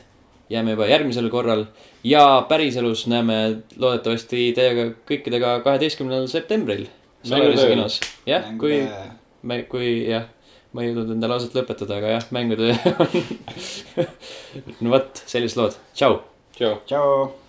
Speaker 1: jääme juba järgmisel korral ja päriselus näeme loodetavasti teiega kõikidega kaheteistkümnendal septembril .
Speaker 2: Mängutööl.
Speaker 1: kinos , jah , kui
Speaker 3: äh,
Speaker 1: me , kui jah , ma ei jõudnud enda lauset lõpetada , aga [laughs] jah , mängutöö on . no vot , sellised lood , tšau .
Speaker 2: tšau .
Speaker 3: tšau .